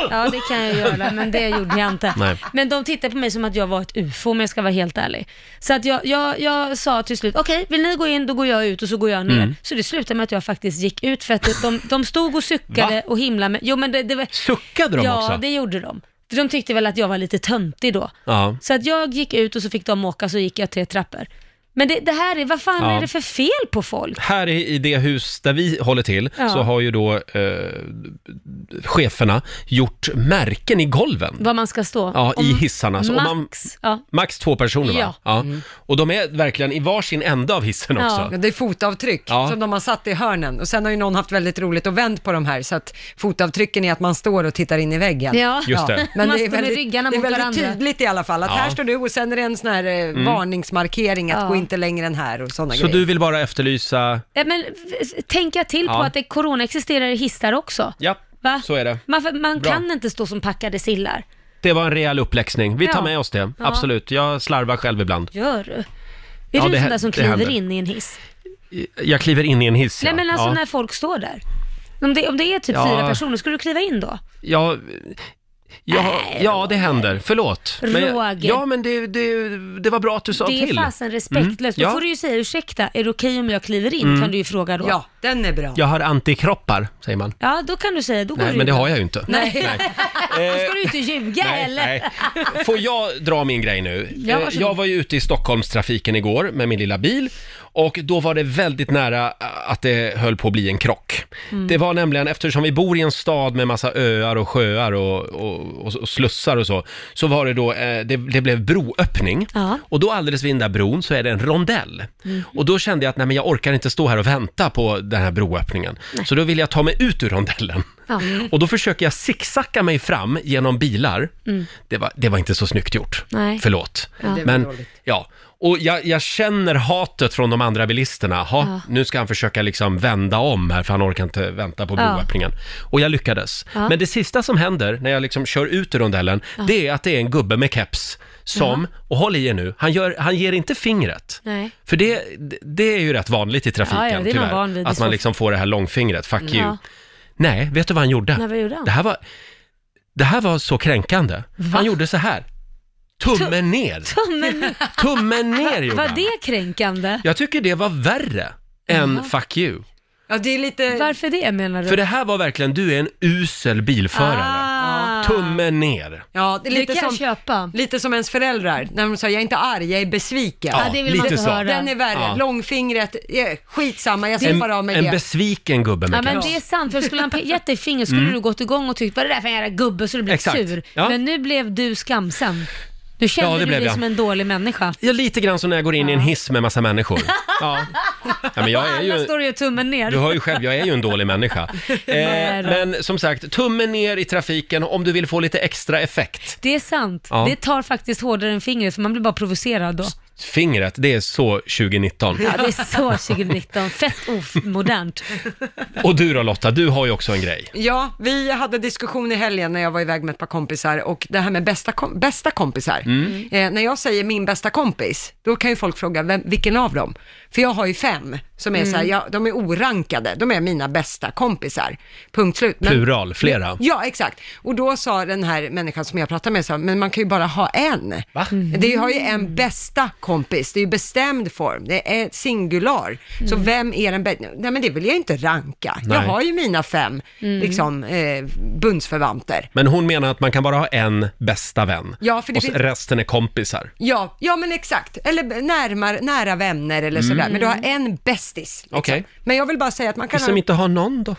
B: Ja, det kan jag göra, men det gjorde jag inte.
A: Nej.
B: Men de tittade på mig som att jag var ett ufo, om jag ska vara helt ärlig. Så att jag, jag, jag sa till slut, okej, vill ni gå in, då går jag ut och så går jag ner.
A: Mm.
B: Så det slutade med att jag faktiskt gick ut, för att det- de, de stod och
A: Va?
B: suckade och himlade med, jo men det, det var...
A: Suckade de
B: ja,
A: också?
B: det gjorde de. De tyckte väl att jag var lite töntig då.
A: Ja.
B: Så att jag gick ut och så fick de åka, så gick jag tre trappor. Men det, det här är, vad fan
A: Ja.
B: är det för fel på folk?
A: Här i i det hus där vi håller till
B: Ja.
A: så har ju då eh, cheferna gjort märken i golven.
B: Vad man ska stå?
A: Ja, i
B: Om
A: hissarna. Så om
B: Max,
A: man-
B: ja.
A: Max två personer va?
B: Ja.
A: Och de är verkligen i varsin ände av hissen
B: Ja.
A: också.
C: Ja, det är fotavtryck
A: Ja.
C: som de har satt i hörnen och sen har ju någon haft väldigt roligt och vänt på de här så att fotavtrycken är att man står och tittar in i väggen.
B: Ja.
A: Just det.
C: Men
B: Man
C: det är
B: står med
C: väldigt,
B: ryggarna
C: det är
B: mot
C: väldigt
B: varandra.
C: tydligt i alla fall att
A: Ja. Mm.
C: här står du och sen är det en sån här eh, varningsmarkering att
B: Ja.
C: gå inte längre än här och sådana
A: Så
C: grejer.
A: du vill bara efterlysa...
B: Ja, Eh, men f- tänka till på
A: Ja.
B: att det, corona existerar i hissar också.
A: Ja,
B: Va?
A: så är det.
B: Man, man
A: Bra.
B: kan inte stå som packade sillar.
A: Det var en rejäl uppläxning. Vi tar
B: Ja.
A: med oss det.
B: Ja.
A: Absolut. Jag slarvar själv ibland.
B: Gör du? Är
A: Ja,
B: du
A: det hä-
B: en sån där som
A: det
B: kliver
A: händer.
B: in i en hiss?
A: Jag kliver in i en hiss.
B: Nej men alltså
A: ja.
B: när folk står där. Om det, om det är typ
A: Ja.
B: fyra personer, skulle du kliva in då?
A: Ja, Ja, ja det händer. Förlåt. Men jag-
B: Äh. Roger.
A: Ja, men det, det, det var bra att du sa
B: Det är
A: till.
B: fasen respektlöst.
A: Mm. Ja. Mm.
B: Då får du ju säga ursäkta, är det okej om jag kliver in? Kan du ju fråga då.
C: Ja, den är bra.
A: Jag har antikroppar, säger man.
B: Ja, då kan du säga, då går
A: Nej,
B: du
A: men det
B: in.
A: har jag ju inte.
B: Nej. Då ska du ju inte ljuga heller.
A: nej. Får jag dra min grej nu?
B: Ja,
A: Eh,
B: varsågod.
A: jag var ju ute i Stockholmstrafiken igår med min lilla bil och då var det väldigt nära eh, att det höll på att bli en krock.
B: Mm.
A: Det var nämligen, eftersom vi bor i en stad med massa öar och sjöar och, och, och, och slussar och så, så var det då, eh, det, det blev broöppning
B: Ja.
A: och då alldeles vid den där bron så är det en rondell.
B: Mhm.
A: Och då kände jag att nej men jag orkar inte stå här och vänta på den här broöppningen. Så då vill jag ta mig ut ur rondellen.
B: Ja.
A: Och då försöker jag zigzacka mig fram genom bilar. Det, var, det var inte så snyggt gjort.
B: Mm. Nej.
A: Förlåt. Men, ja. Och jag, jag känner hatet från de andra bilisterna. Ha, Nu ska han försöka liksom vända om här för han orkar inte vänta på
B: Ja.
A: broöppningen. Och jag lyckades. Men det sista som händer när jag liksom kör ut ur rondellen, det är att det är en gubbe med keps som, och håll i er nu, han, gör, han ger inte fingret.
B: Nej.
A: För det, det är ju rätt vanligt i trafiken
B: Ja, ja, det är man
A: tyvärr.
B: van vid i
A: att
B: så fall.
A: man liksom får det här långfingret, fuck you.
B: Ja.
A: Nej, vet du vad han gjorde?
B: Nej, vad gjorde han?
A: Det här var, det här var så kränkande. Han gjorde så här. Tummen ner!
B: Men
A: Tummen ner gjorde
B: var
A: han.
B: det kränkande?
A: Jag tycker det var värre än fuck you.
C: Ja, det är lite...
B: Varför det menar du?
A: För det här var verkligen, du är en usel bilförare.
B: Ah.
A: Tummen ner.
C: Ja, det är
B: Det
C: lite
B: kan jag
C: som,
B: köpa.
C: lite som ens föräldrar, när de säger jag är inte arg, jag är besviken.
A: Ja,
B: Ja, det vill man
A: lite
B: inte
A: så.
B: höra.
C: Den är värre.
A: Ja.
C: Långfingret, eh, skitsamma, jag
A: En,
C: släpper av mig
A: en
C: det.
A: besviken gubbe med
B: Ja men
A: keps.
B: det är sant, för skulle han pe- gett dig finger skulle du gått igång och tyckt vad är det där för en jävla gubbe så du blev
A: Mm. Exakt.
B: sur.
A: Ja.
B: Men nu blev du skamsen. Nu kände
A: Ja, det
B: du
A: blev
B: dig
A: jag.
B: som en dålig människa.
A: Ja, lite grann som när jag går in i en hiss med massa människor. Ja. ja men jag är
B: Alla
A: ju...
B: står och gör tummen ner.
A: Du hör ju själv, jag är ju en dålig människa. Eh,
B: Nej då.
A: men som sagt, tummen ner i trafiken om du vill få lite extra effekt.
B: Det är sant.
A: Ja.
B: Det tar faktiskt hårdare än fingret för man blir bara provocerad då.
A: Fingret, det är så 2019.
B: Ja, det är så 2019. Fett omodernt.
A: Och du då Lotta, du har ju också en grej.
C: Ja, vi hade diskussion i helgen när jag var iväg med ett par kompisar och det här med bästa, kom- bästa kompisar. Eh, när jag säger min bästa kompis, då kan ju folk fråga vem, vilken av dem? För jag har ju fem som är så här, ja, de är orankade, de är mina bästa kompisar. Punkt slut. Men-
A: Plural, flera.
C: Ja, exakt. Och då sa den här människan som jag pratade med, så, här, men man kan ju bara ha en. Mm.
A: Va?
C: Det har ju en bästa kompis, det är ju bestämd form, det är singular. Så vem är den bästa? Nej men det vill jag inte ranka. Jag
A: Mm. Nej. Mm.
C: har ju mina fem liksom, eh, bundsförvanter.
A: Men hon menar att man kan bara ha en bästa vän.
C: Ja, för det
A: och s-
C: finns-
A: resten är kompisar.
C: Ja, ja men exakt, eller b- närmar, nära vänner eller
A: Mm.
C: sådär, men du har en bästis. Liksom.
A: Okej.
C: Men jag vill bara säga att man kan
A: Vi som inte har någon då?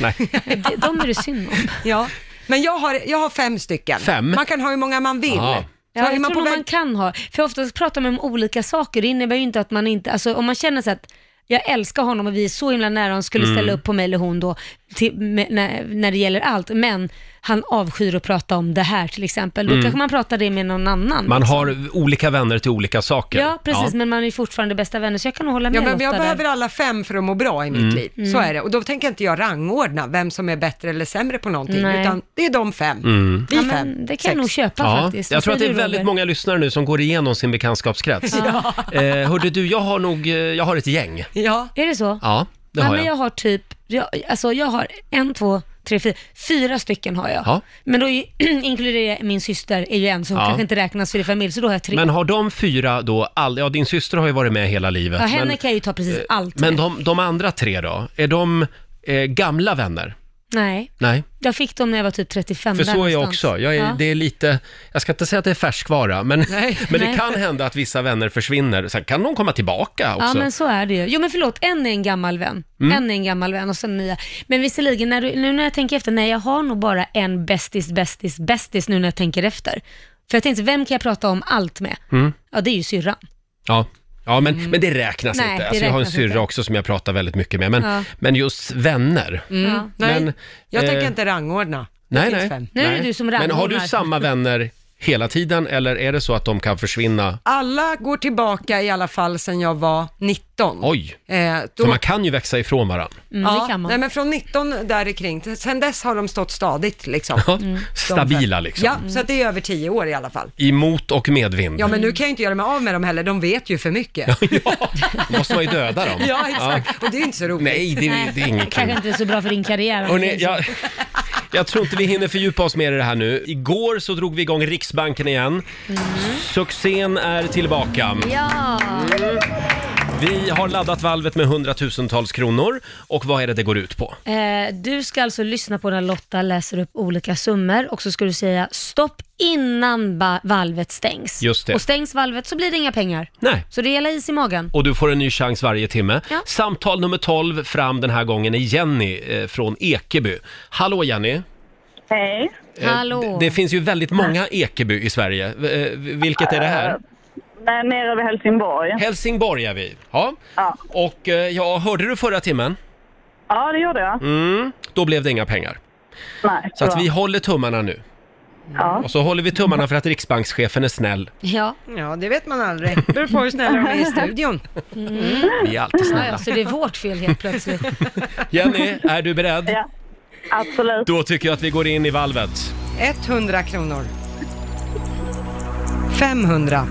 A: Nej.
B: Det- De är det synd om.
C: Ja, men jag har, jag har fem stycken.
A: Fem?
C: Man kan ha hur många man vill.
A: Ja.
C: Så
B: Ja,
C: är
B: jag
C: man på
B: tror nog
C: väg-
B: man kan ha. För oftast pratar man om olika saker. Det innebär ju inte att man inte, alltså om man känner sig att jag älskar honom och vi är så himla nära, han skulle ställa upp på mig eller hon då, till, med, när, när det gäller allt. Men han avskyr att prata om det här till exempel. Då kanske man pratar det med någon annan.
A: Man har olika vänner till olika saker.
B: Mm. ja, precis,
A: Ja.
B: men man är ju fortfarande bästa vänner, så jag kan nog hålla med
C: Ja, men
B: Lotta
C: jag
B: där. Mm.
C: behöver alla fem för att må bra i mitt
A: Mm.
C: liv. Så är det. Och då tänker inte jag rangordna vem som är bättre eller sämre på någonting,
B: Nej.
C: utan det är de fem.
A: Mm.
C: Vi
B: ja,
C: fem.
B: men det kan
C: sex.
B: jag nog köpa
A: Ja,
B: faktiskt. Vad
A: jag tror att det
B: säger
A: är
B: du,
A: väldigt
B: Roger?
A: många lyssnare nu som går igenom sin bekantskapskrets. Ja. Eh, hörde du, jag har nog, eh, jag har ett gäng.
C: Ja,
B: Är det så?
A: Ja, det
B: Nej,
A: har
B: men
A: jag.
B: jag har typ, jag, alltså jag har en, två, tre, fyra, fyra stycken har jag.
A: Ja.
B: Men då är, inkluderar jag min syster, är ju en som
A: Ja.
B: kanske inte räknas för i familj, så då har jag tre.
A: Men har de fyra då, all, ja din syster har ju varit med hela livet.
B: ja, henne
A: men eh,
B: kan jag ju ta precis allt
A: men
B: med.
A: de, de andra tre då, är de eh, gamla vänner?
B: Nej,
A: Nej.
B: jag fick dem när jag var typ 35.
A: För
B: där
A: så är jag
B: någonstans.
A: också. Jag är,
B: Ja.
A: det är lite, jag ska inte säga att det är färskvara, men, men det
B: Nej.
A: kan hända att vissa vänner försvinner. Sen kan de komma tillbaka också. Mm.
B: Ja men så är det ju. Jo men förlåt, en är en gammal vän. En är en gammal vän och sen nya. Men visserligen, när du, nu när jag tänker efter, nej jag har nog bara en bästis, bästis, bästis nu när jag tänker efter. För jag tänkte, vem kan jag prata om allt med?
A: Mm.
B: Ja det är ju syrran.
A: Ja. Ja, men, men det räknas
B: Mm. Nej,
A: inte.
B: det
A: Alltså, jag har en
B: räknas
A: syrra
B: inte.
A: också som jag pratar väldigt mycket med. Men,
B: Ja.
A: men just vänner.
C: Mm.
B: Ja.
C: nej.
A: Men,
C: jag
A: eh,
C: tänker inte rangordna. Det
A: Nej,
C: finns
A: nej.
C: fem.
B: Nu är det
A: nej.
B: du som
A: Men har du
B: rangordnar.
A: samma vänner hela tiden eller är det så att de kan försvinna?
C: Alla går tillbaka i alla fall sedan jag var 19.
A: Oj!
C: Eh, då,
A: För man kan ju växa ifrån varandra.
B: Mm, det kan man.
C: Nej, men från 19 där kring. Sen dess har de stått stadigt liksom.
B: Mm.
A: Stabila liksom.
C: Ja, så att det är över 10 år i alla fall.
A: I mot och medvind.
C: Ja, men
B: Mm.
C: nu kan jag inte göra mig av med dem heller, de vet ju för mycket.
A: Ja, då måste man ju döda dem.
C: Ja, exakt. Och det är inte så roligt.
A: Nej, det, det är inget
B: Kanske
A: kul.
B: inte så bra för din karriär.
A: Hörrni, jag, jag tror inte vi hinner fördjupa oss mer i det här nu. Igår så drog vi igång Riksbanken igen. Succén är tillbaka.
B: Ja,
A: Vi har laddat valvet med hundratusentals kronor. Och vad är det det går ut på?
B: eh, du ska alltså lyssna på när Lotta läser upp olika summor och så ska du säga stopp innan ba- valvet stängs.
A: Just det. Eh,
B: Och stängs valvet så blir det inga pengar.
A: Nej.
B: Så det gäller is i magen.
A: Och du får en ny chans varje timme.
B: Ja.
A: Samtal nummer 12 fram den här gången är Jenny eh, från Ekeby. Hallå Jenny!
G: Hej.
A: Eh,
B: Hallå.
A: d- Det finns ju väldigt många Ekeby i Sverige. V- eh, Vilket är det här?
G: Nej, nere vid Helsingborg.
A: Helsingborg är vi. Ja.
G: Ja.
A: Och eh, ja, hörde du förra timmen?
G: Ja, det gjorde jag.
A: Mm, då blev det inga pengar.
G: Nej,
A: Så att
G: bra.
A: vi håller tummarna nu.
G: Ja.
A: Och så håller vi tummarna för att riksbankschefen är snäll.
B: Ja,
C: Ja, det vet man aldrig. Beror på hur snälla de är i studion.
A: Vi är alltid
B: ja,
A: snälla.
B: ja, så det är vårt fel helt plötsligt.
A: Jenny, är du beredd?
G: Ja. Absolut.
A: Då tycker jag att vi går in i valvet.
C: 100 kronor. 500.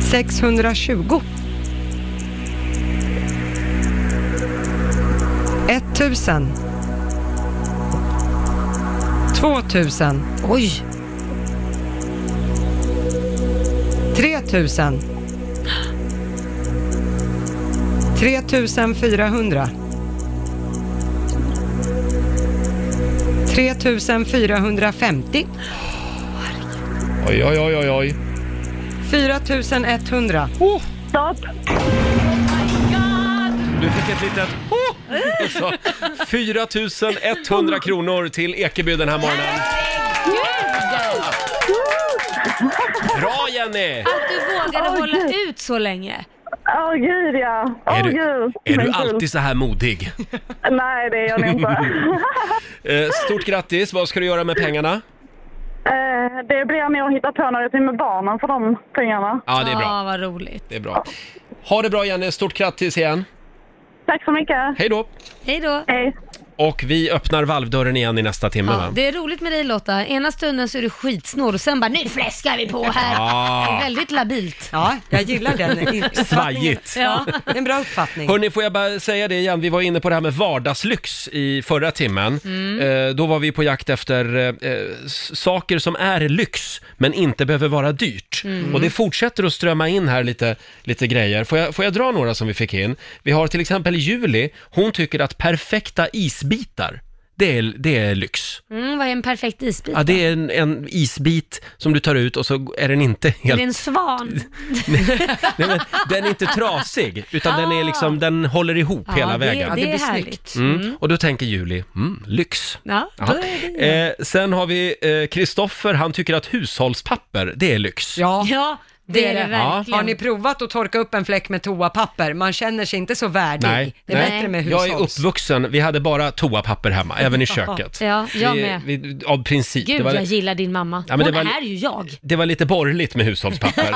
C: 620. 1000. 2000.
B: Oj,
C: 3000. 3400. 3450.
A: Oj, oj, oj, oj, oj.
C: 4100.
G: Stopp.
A: Du fick ett litet... Oh! Så, 4 100 kronor till Ekeby den här morgonen. Bra Jenny!
B: att du vågade hålla ut så länge.
G: Åh, gud ja. Åh,
A: Är du,
G: gud.
A: är du
G: Men kul.
A: alltid så här modig?
G: Nej, det är jag nog inte.
A: Eh, Stort grattis, vad ska du göra med pengarna?
G: Eh, det blir nog att hitta på något med barnen för de pengarna.
A: Ja, det är bra.
B: Ja, vad roligt.
A: Det är bra. Ha det bra Jenny, stort grattis igen.
G: Tack så mycket.
A: Hej då!
B: Hej då.
G: Hej.
A: Och vi öppnar valvdörren igen i nästa timme
B: Ja,
A: va?
B: det är roligt med dig Lotta. Ena stunden så är du skitsnål och sen bara nu fläskar vi på här.
A: Ah.
B: Det är väldigt labilt.
C: Ja, jag gillar den. i-
A: Svajigt.
C: Ja, en bra uppfattning.
A: Hörni, får jag bara säga det igen, vi var inne på det här med vardagslyx i förra timmen.
B: Mm.
A: Eh, då var vi på jakt efter eh, eh, s- saker som är lyx, men inte behöver vara dyrt.
B: Mm.
A: Och det fortsätter att strömma in här lite, lite grejer. Får jag, får jag dra några som vi fick in? Vi har till exempel Julie, hon tycker att perfekta isbitar, det är, det är lyx.
B: Mm, vad är en perfekt isbit?
A: Ja, det är en, en isbit som du tar ut och så är den inte
B: Är
A: helt...
B: det en svan?
A: Nej, men, den är inte trasig, utan den är liksom, den håller ihop hela
B: ja, det,
A: vägen.
B: Det,
C: Ja, det
B: är
C: blir
B: härligt.
A: Mm. Och då tänker Julie, mm, lyx.
B: Ja, då
A: Jaha.
B: är det.
A: Eh, sen har vi eh, Kristoffer, han tycker att hushållspapper, det är lyx.
C: Ja.
B: Ja, det är det
A: Ja.
B: verkligen.
C: Har ni provat att torka upp en fläck med toapapper? Man känner sig inte så värdig.
A: Nej,
C: det är
A: nej.
C: bättre med
A: jag är
C: hushålls...
A: uppvuxen, vi hade bara toapapper hemma, även i köket.
B: Ja, jag
A: vi,
B: med.
A: Vi, av princip.
B: Gud,
A: det,
B: jag
A: var,
B: gillar din mamma.
A: Ja, men
B: Hon
A: det var-
B: är ju jag.
A: det var lite borgerligt med hushållspapper.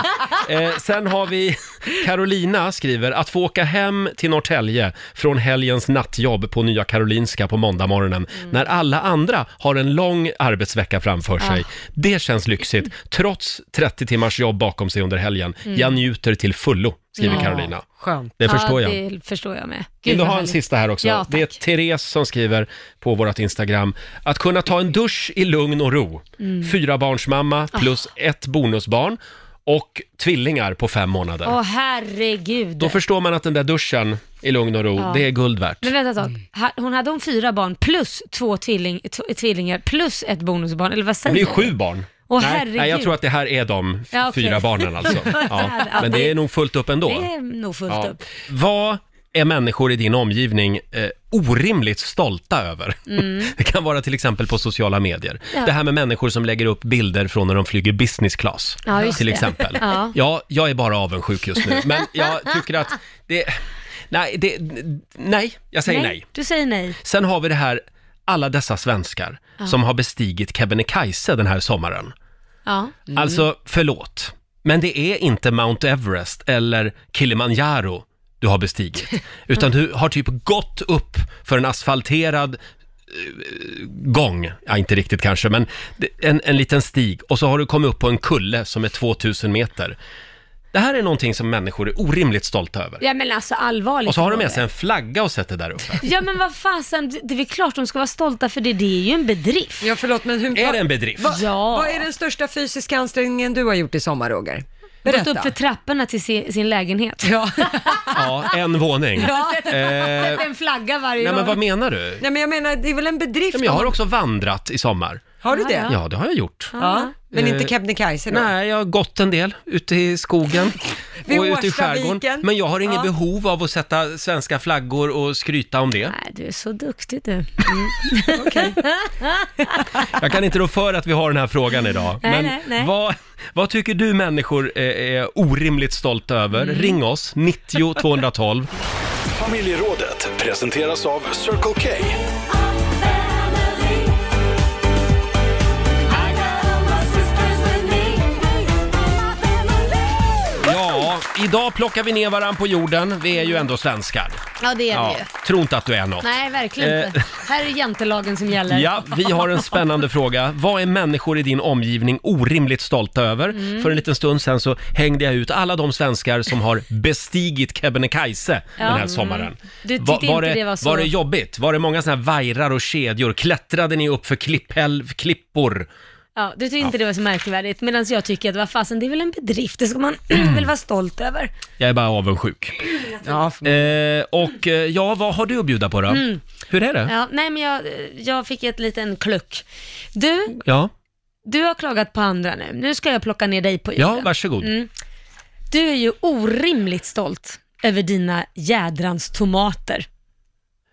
A: eh, sen har vi Carolina skriver, att få åka hem till Norrtälje från helgens nattjobb på Nya Karolinska på måndag morgonen, när alla andra har en lång arbetsvecka framför sig. Det känns lyxigt, trots 30 timmars jobb bakom sig under helgen. Jag njuter till fullo, skriver Carolina.
C: Skönt.
A: Det förstår jag.
B: Det förstår jag med. Gud,
A: Vill du
B: vad
A: ha en
B: härligt.
A: sista här också?
B: Ja,
A: det är
B: tack.
A: Therese som skriver på vårt Instagram. Att kunna ta en dusch i lugn och ro.
B: Mm.
A: Fyra barns mamma
B: Ah.
A: plus ett bonusbarn och tvillingar på fem månader.
B: Åh herregud.
A: Då förstår man att den där duschen i lugn och ro, det är guld värt.
B: Men vänta ett
A: Mm.
B: tag. Ha- Hon hade hon fyra barn plus två tvilling, t- tvillingar plus ett bonusbarn, eller vad
A: Det
B: säger
A: blir ju
B: du?
A: sju barn.
B: Åh,
A: nej,
B: herregud.
A: nej, jag tror att det här är de f-
B: Ja, okej.
A: fyra barnen alltså. Ja.
B: Ja,
A: Men det
B: det-
A: är nog fullt upp ändå.
B: Det är nog fullt
A: Ja.
B: upp.
A: Vad är människor i din omgivning eh, orimligt stolta över? Det kan vara till exempel på sociala medier.
B: Mm. Ja.
A: Det här med människor som lägger upp bilder från när de flyger business class.
B: Ja, just
A: till
B: det.
A: exempel.
B: Ja.
A: jag är bara avundsjuk just nu. Men jag tycker att det... Nej, det, nej jag säger nej.
B: Du säger nej.
A: Sen har vi det här, alla dessa svenskar som har bestigit Kebnekaise den här sommaren.
B: Ja.
A: Alltså, förlåt. Men det är inte Mount Everest eller Kilimanjaro du har bestigit. Utan du har typ gått upp för en asfalterad eh, gång, ja inte riktigt kanske, men det- en, en liten stig och så har du kommit upp på en kulle som är 2000 meter. Det här är någonting som människor är orimligt stolta över.
B: Ja men alltså allvarligt.
A: Och så har de med sig en flagga och sätter där uppe.
B: Ja men vad fasen, det det är väl klart de ska vara stolta för det, det är ju en bedrift.
C: Ja, förlåt, men hur...
A: Är
C: vad-
A: det en bedrift?
C: Vad,
B: Ja.
C: vad är den största fysiska ansträngningen du har gjort i sommar, Roger?
B: Gått
C: Berätta.
B: upp för trapporna till se, sin lägenhet.
C: ja.
A: Ja, en våning.
B: Ja, sätter-
A: Eh,
B: sätter en flagga varje
A: Nej men
B: gång.
A: vad menar du?
C: Nej, men jag menar, det är väl en bedrift?
A: Ja, men jag har
C: om-
A: också vandrat i sommar.
C: har du det?
B: Ja,
A: Ja, det har jag gjort.
C: Ja, men
A: Eh,
C: inte Kebnekaise då?
A: Nej, jag har gått en del ute i skogen
C: Vid
A: och ute i skärgården.
C: Årstaviken.
A: Men jag har inget
C: Ja.
A: behov av att sätta svenska flaggor och skryta om det.
B: Nej, du är så duktig du.
A: Jag kan inte rå för att vi har den här frågan idag.
B: Nej,
A: men
B: nej, nej.
A: Vad, vad tycker du människor är, är orimligt stolta över?
B: Mm.
A: Ring oss, 90 212.
H: Familjerådet presenteras av Circle K.
A: Ja, idag plockar vi ner varann på jorden. Vi är ju ändå svenskar.
B: Ja, det är
A: Ja,
B: det ju.
A: tro inte att du är något.
B: Nej, verkligen inte. Här är jantelagen som gäller.
A: Ja, vi har en spännande fråga. Vad är människor i din omgivning orimligt stolta över?
B: Mm.
A: För en liten stund sen så hängde jag ut alla de svenskar som har bestigit Kebnekaise den här
B: Ja. mm.
A: sommaren.
B: Du tyckte
A: Va-
B: inte det var så-
A: Var det jobbigt? Var det många såna här vajrar och kedjor? Klättrade ni upp för klipphäll, klippor?
B: Ja, du tyckte inte det var så märkvärdigt, medan jag tycker att vad fasen, det är väl en bedrift, det ska man väl vara stolt över.
A: Jag är bara avundsjuk.
C: Ja,
A: Eh, och eh, ja, vad har du att bjuda på då? Hur är det?
B: Mm. Ja, nej men jag, jag fick ett liten kluck. Du,
A: Ja,
B: du har klagat på andra nu, nu ska jag plocka ner dig på jorden.
A: ja varsågod.
B: Du är ju orimligt stolt över dina jädrans tomater.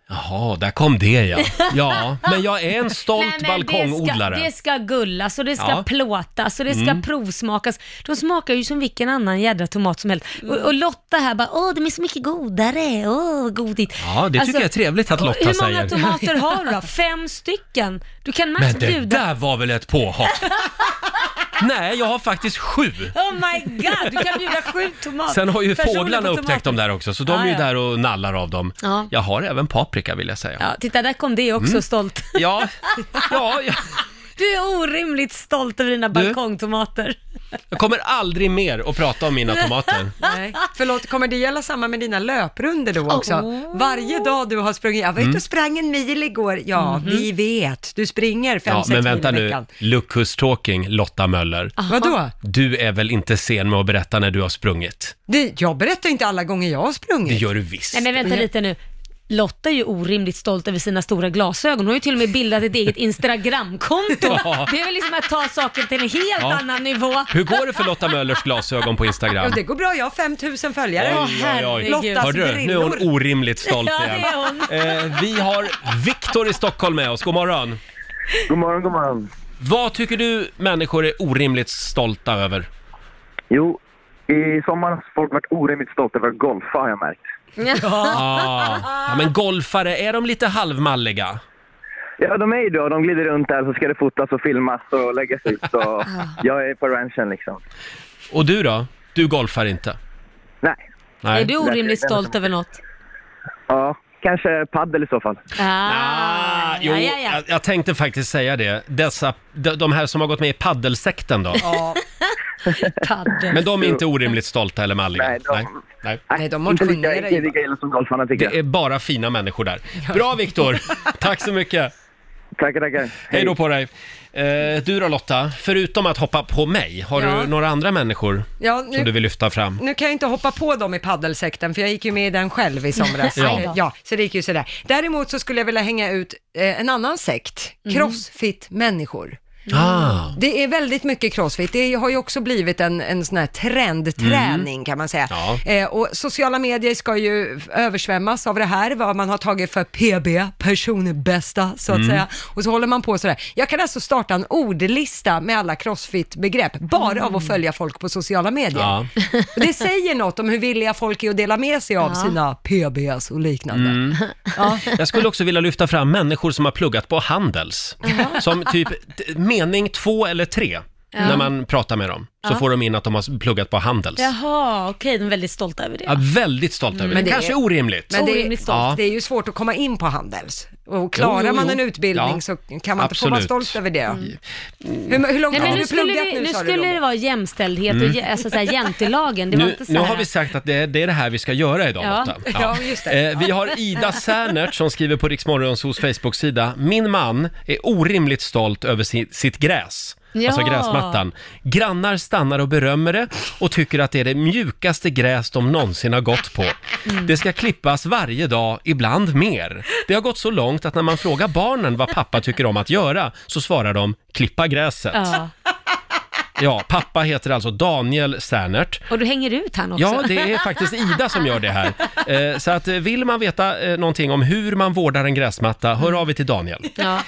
A: Jaha, där kom det ja. Ja, men jag är en stolt balkongodlare.
B: Det ska, det ska gullas och det ska
A: Ja. Mm.
B: plåtas och det ska provsmakas. De smakar ju som vilken annan jädra tomat som helst. Och, och Lotta här bara, åh de är så mycket godare, åh godigt.
A: Ja, det tycker jag är trevligt att Lotta
B: Hur
A: säger.
B: många tomater har du då? Fem stycken? Du kan max
A: Men det
B: bjuda...
A: där var väl ett påhopp? Nej, jag har faktiskt sju.
B: Oh my god, du kan bjuda sju tomater.
A: Sen har ju
B: Personer på
A: fåglarna
B: tomater.
A: upptäckt dem där också, så de
B: Ja,
A: är ju
B: ja.
A: där och nallar av dem.
B: Ja.
A: Jag har även paprika vill jag säga.
B: Ja, titta där kom det
A: Mm.
B: också stolt.
A: Ja, ja, jag-
B: Du är orimligt stolt över dina balkongtomater.
A: jag kommer aldrig mer att prata om mina tomater.
C: Nej. Förlåt, kommer det gälla samma med dina löprunder då också?
B: Oh.
C: Varje dag du har sprungit, jag var
A: Mm.
C: ute och sprang en mil igår, ja vi vet, du springer fem,
A: Ja,
C: sex
A: men
C: mil
A: vänta
C: i
A: nu.
C: veckan.
A: Look who's talking, Lotta Möller.
B: Ah.
C: Vadå?
A: Du är väl inte sen med att berätta när du har sprungit?
C: Det, jag berättar inte alla gånger jag har
A: Det
C: sprungit.
A: gör du visst.
B: Nej men vänta lite nu. Lotta är ju orimligt stolt över sina stora glasögon. Hon har ju till och med bildat ett eget Instagramkonto.
A: Ja.
B: Det är väl liksom att ta saker till en helt
A: Ja.
B: annan nivå.
A: Hur går det för Lotta Möllers glasögon på Instagram?
C: Jo, det går bra, jag har 5000 följare.
A: Oj, oj, oj.
B: herregud.
C: Lottas
A: Hörde du? Nu är hon
C: brillor.
A: orimligt stolt
B: Ja, det
A: igen.
B: är hon.
A: Eh, vi har Viktor i Stockholm med oss. God morgon.
I: God morgon, god morgon.
A: Vad tycker du människor är orimligt stolta över?
I: Jo, i sommar har folk varit orimligt stolta över att golfa har jag märkt.
A: Ah, ja, men golfare, är de lite halvmalliga?
I: Ja, de är ju då. De glider runt där så ska det fotas och filmas och läggas ut. Och jag är på ranchen liksom.
A: Och du då? Du golfar inte?
I: Nej,
A: Nej.
B: Är du orimligt stolt över något?
I: ja, kanske paddel i så fall.
A: Ah,
B: Ah,
A: jo,
B: ja, ja, ja.
A: Jag, jag tänkte faktiskt säga det. Dessa, de, de här som har gått med i paddelsekten då.
B: Padel.
A: Men de är inte orimligt stolta eller malliga?
I: Nej, de-
A: Nej.
C: Nej, de
I: inte
C: motionerar
I: lika,
C: ju
I: inte lika illa som golfarna tycker
A: Det
I: jag.
A: är bara fina människor där. Bra Viktor! Tack så mycket!
I: Tackar, tackar.
A: Hej då på dig! Eh, du då Lotta, förutom att hoppa på mig, har
C: Ja.
A: du några andra människor
C: Ja,
A: som du
C: nu,
A: vill lyfta fram?
C: nu kan jag inte hoppa på dem i paddelsekten för jag gick ju med i den själv i somras.
A: Ja.
C: Eh, ja, så det gick ju sådär. Däremot så skulle jag vilja hänga ut eh, en annan sekt, crossfit-människor.
A: Ah,
C: Det är väldigt mycket crossfit. Det har ju också blivit en, en sån här trendträning kan man säga.
A: Mm. Ja.
C: Eh, och sociala medier ska ju översvämmas av det här, vad man har tagit för PB, personbästa så
A: Mm.
C: att säga. Och så håller man på sådär. Jag kan alltså starta en ordlista med alla crossfit-begrepp, bara av att följa folk på sociala medier.
A: Mm. ja.
C: Och det säger något om hur villiga folk är att dela med sig av sina PBs och liknande.
A: Mm.
C: Ja.
A: Jag skulle också vilja lyfta fram människor som har pluggat på Handels. Som typ t- mening två eller tre, när man pratar med dem. så får de in att de har pluggat på Handels. Ja.
B: Jaha, okej, de är väldigt stolta över det.
A: väldigt stolt över
C: Mm. Men
A: det.
C: det-
A: Kanske orimligt.
C: Men det,
B: Orimligt
C: är-
B: stolt.
C: ja. det är ju svårt att komma in på Handels. Och klarar
A: Jo, jo,
C: man
A: jo.
C: en utbildning
A: Ja.
C: så kan man inte få vara
A: Absolut. Mm.
C: stolt över det. Hur, hur långt
B: Nej, men
C: har
B: nu
C: du
B: skulle,
C: pluggat
B: det,
C: nu,
B: nu
C: sa
B: skulle
C: du
B: det
C: Robin?
B: vara jämställdhet och jä- alltså, så här, jantelagen. Det var
A: Mm. Nu,
B: inte så
A: nu
B: här.
A: har vi sagt att det, är- det är det här vi ska göra idag
B: Ja.
A: Lotta.
C: Ja, just det.
A: Eh, Vi har Ida Sernert som skriver på Riksmorgonsos Facebook-sida. Min man är orimligt stolt över si- sitt gräs.
B: Ja.
A: Alltså gräsmattan. Grannar stannar och berömmer det och tycker att det är det mjukaste gräs de någonsin har gått på.
B: Mm.
A: Det ska klippas varje dag, ibland mer. Det har gått så långt att när man frågar barnen vad pappa tycker om att göra så svarar de klippa gräset. Ja,
B: Ja.
A: pappa heter alltså Daniel Sernert.
B: Och du hänger ut han också.
A: Ja, det är faktiskt Ida som gör det här. Eh, Så att eh, vill man veta eh, någonting om hur man vårdar en gräsmatta, hör av er till Daniel.
B: Ja.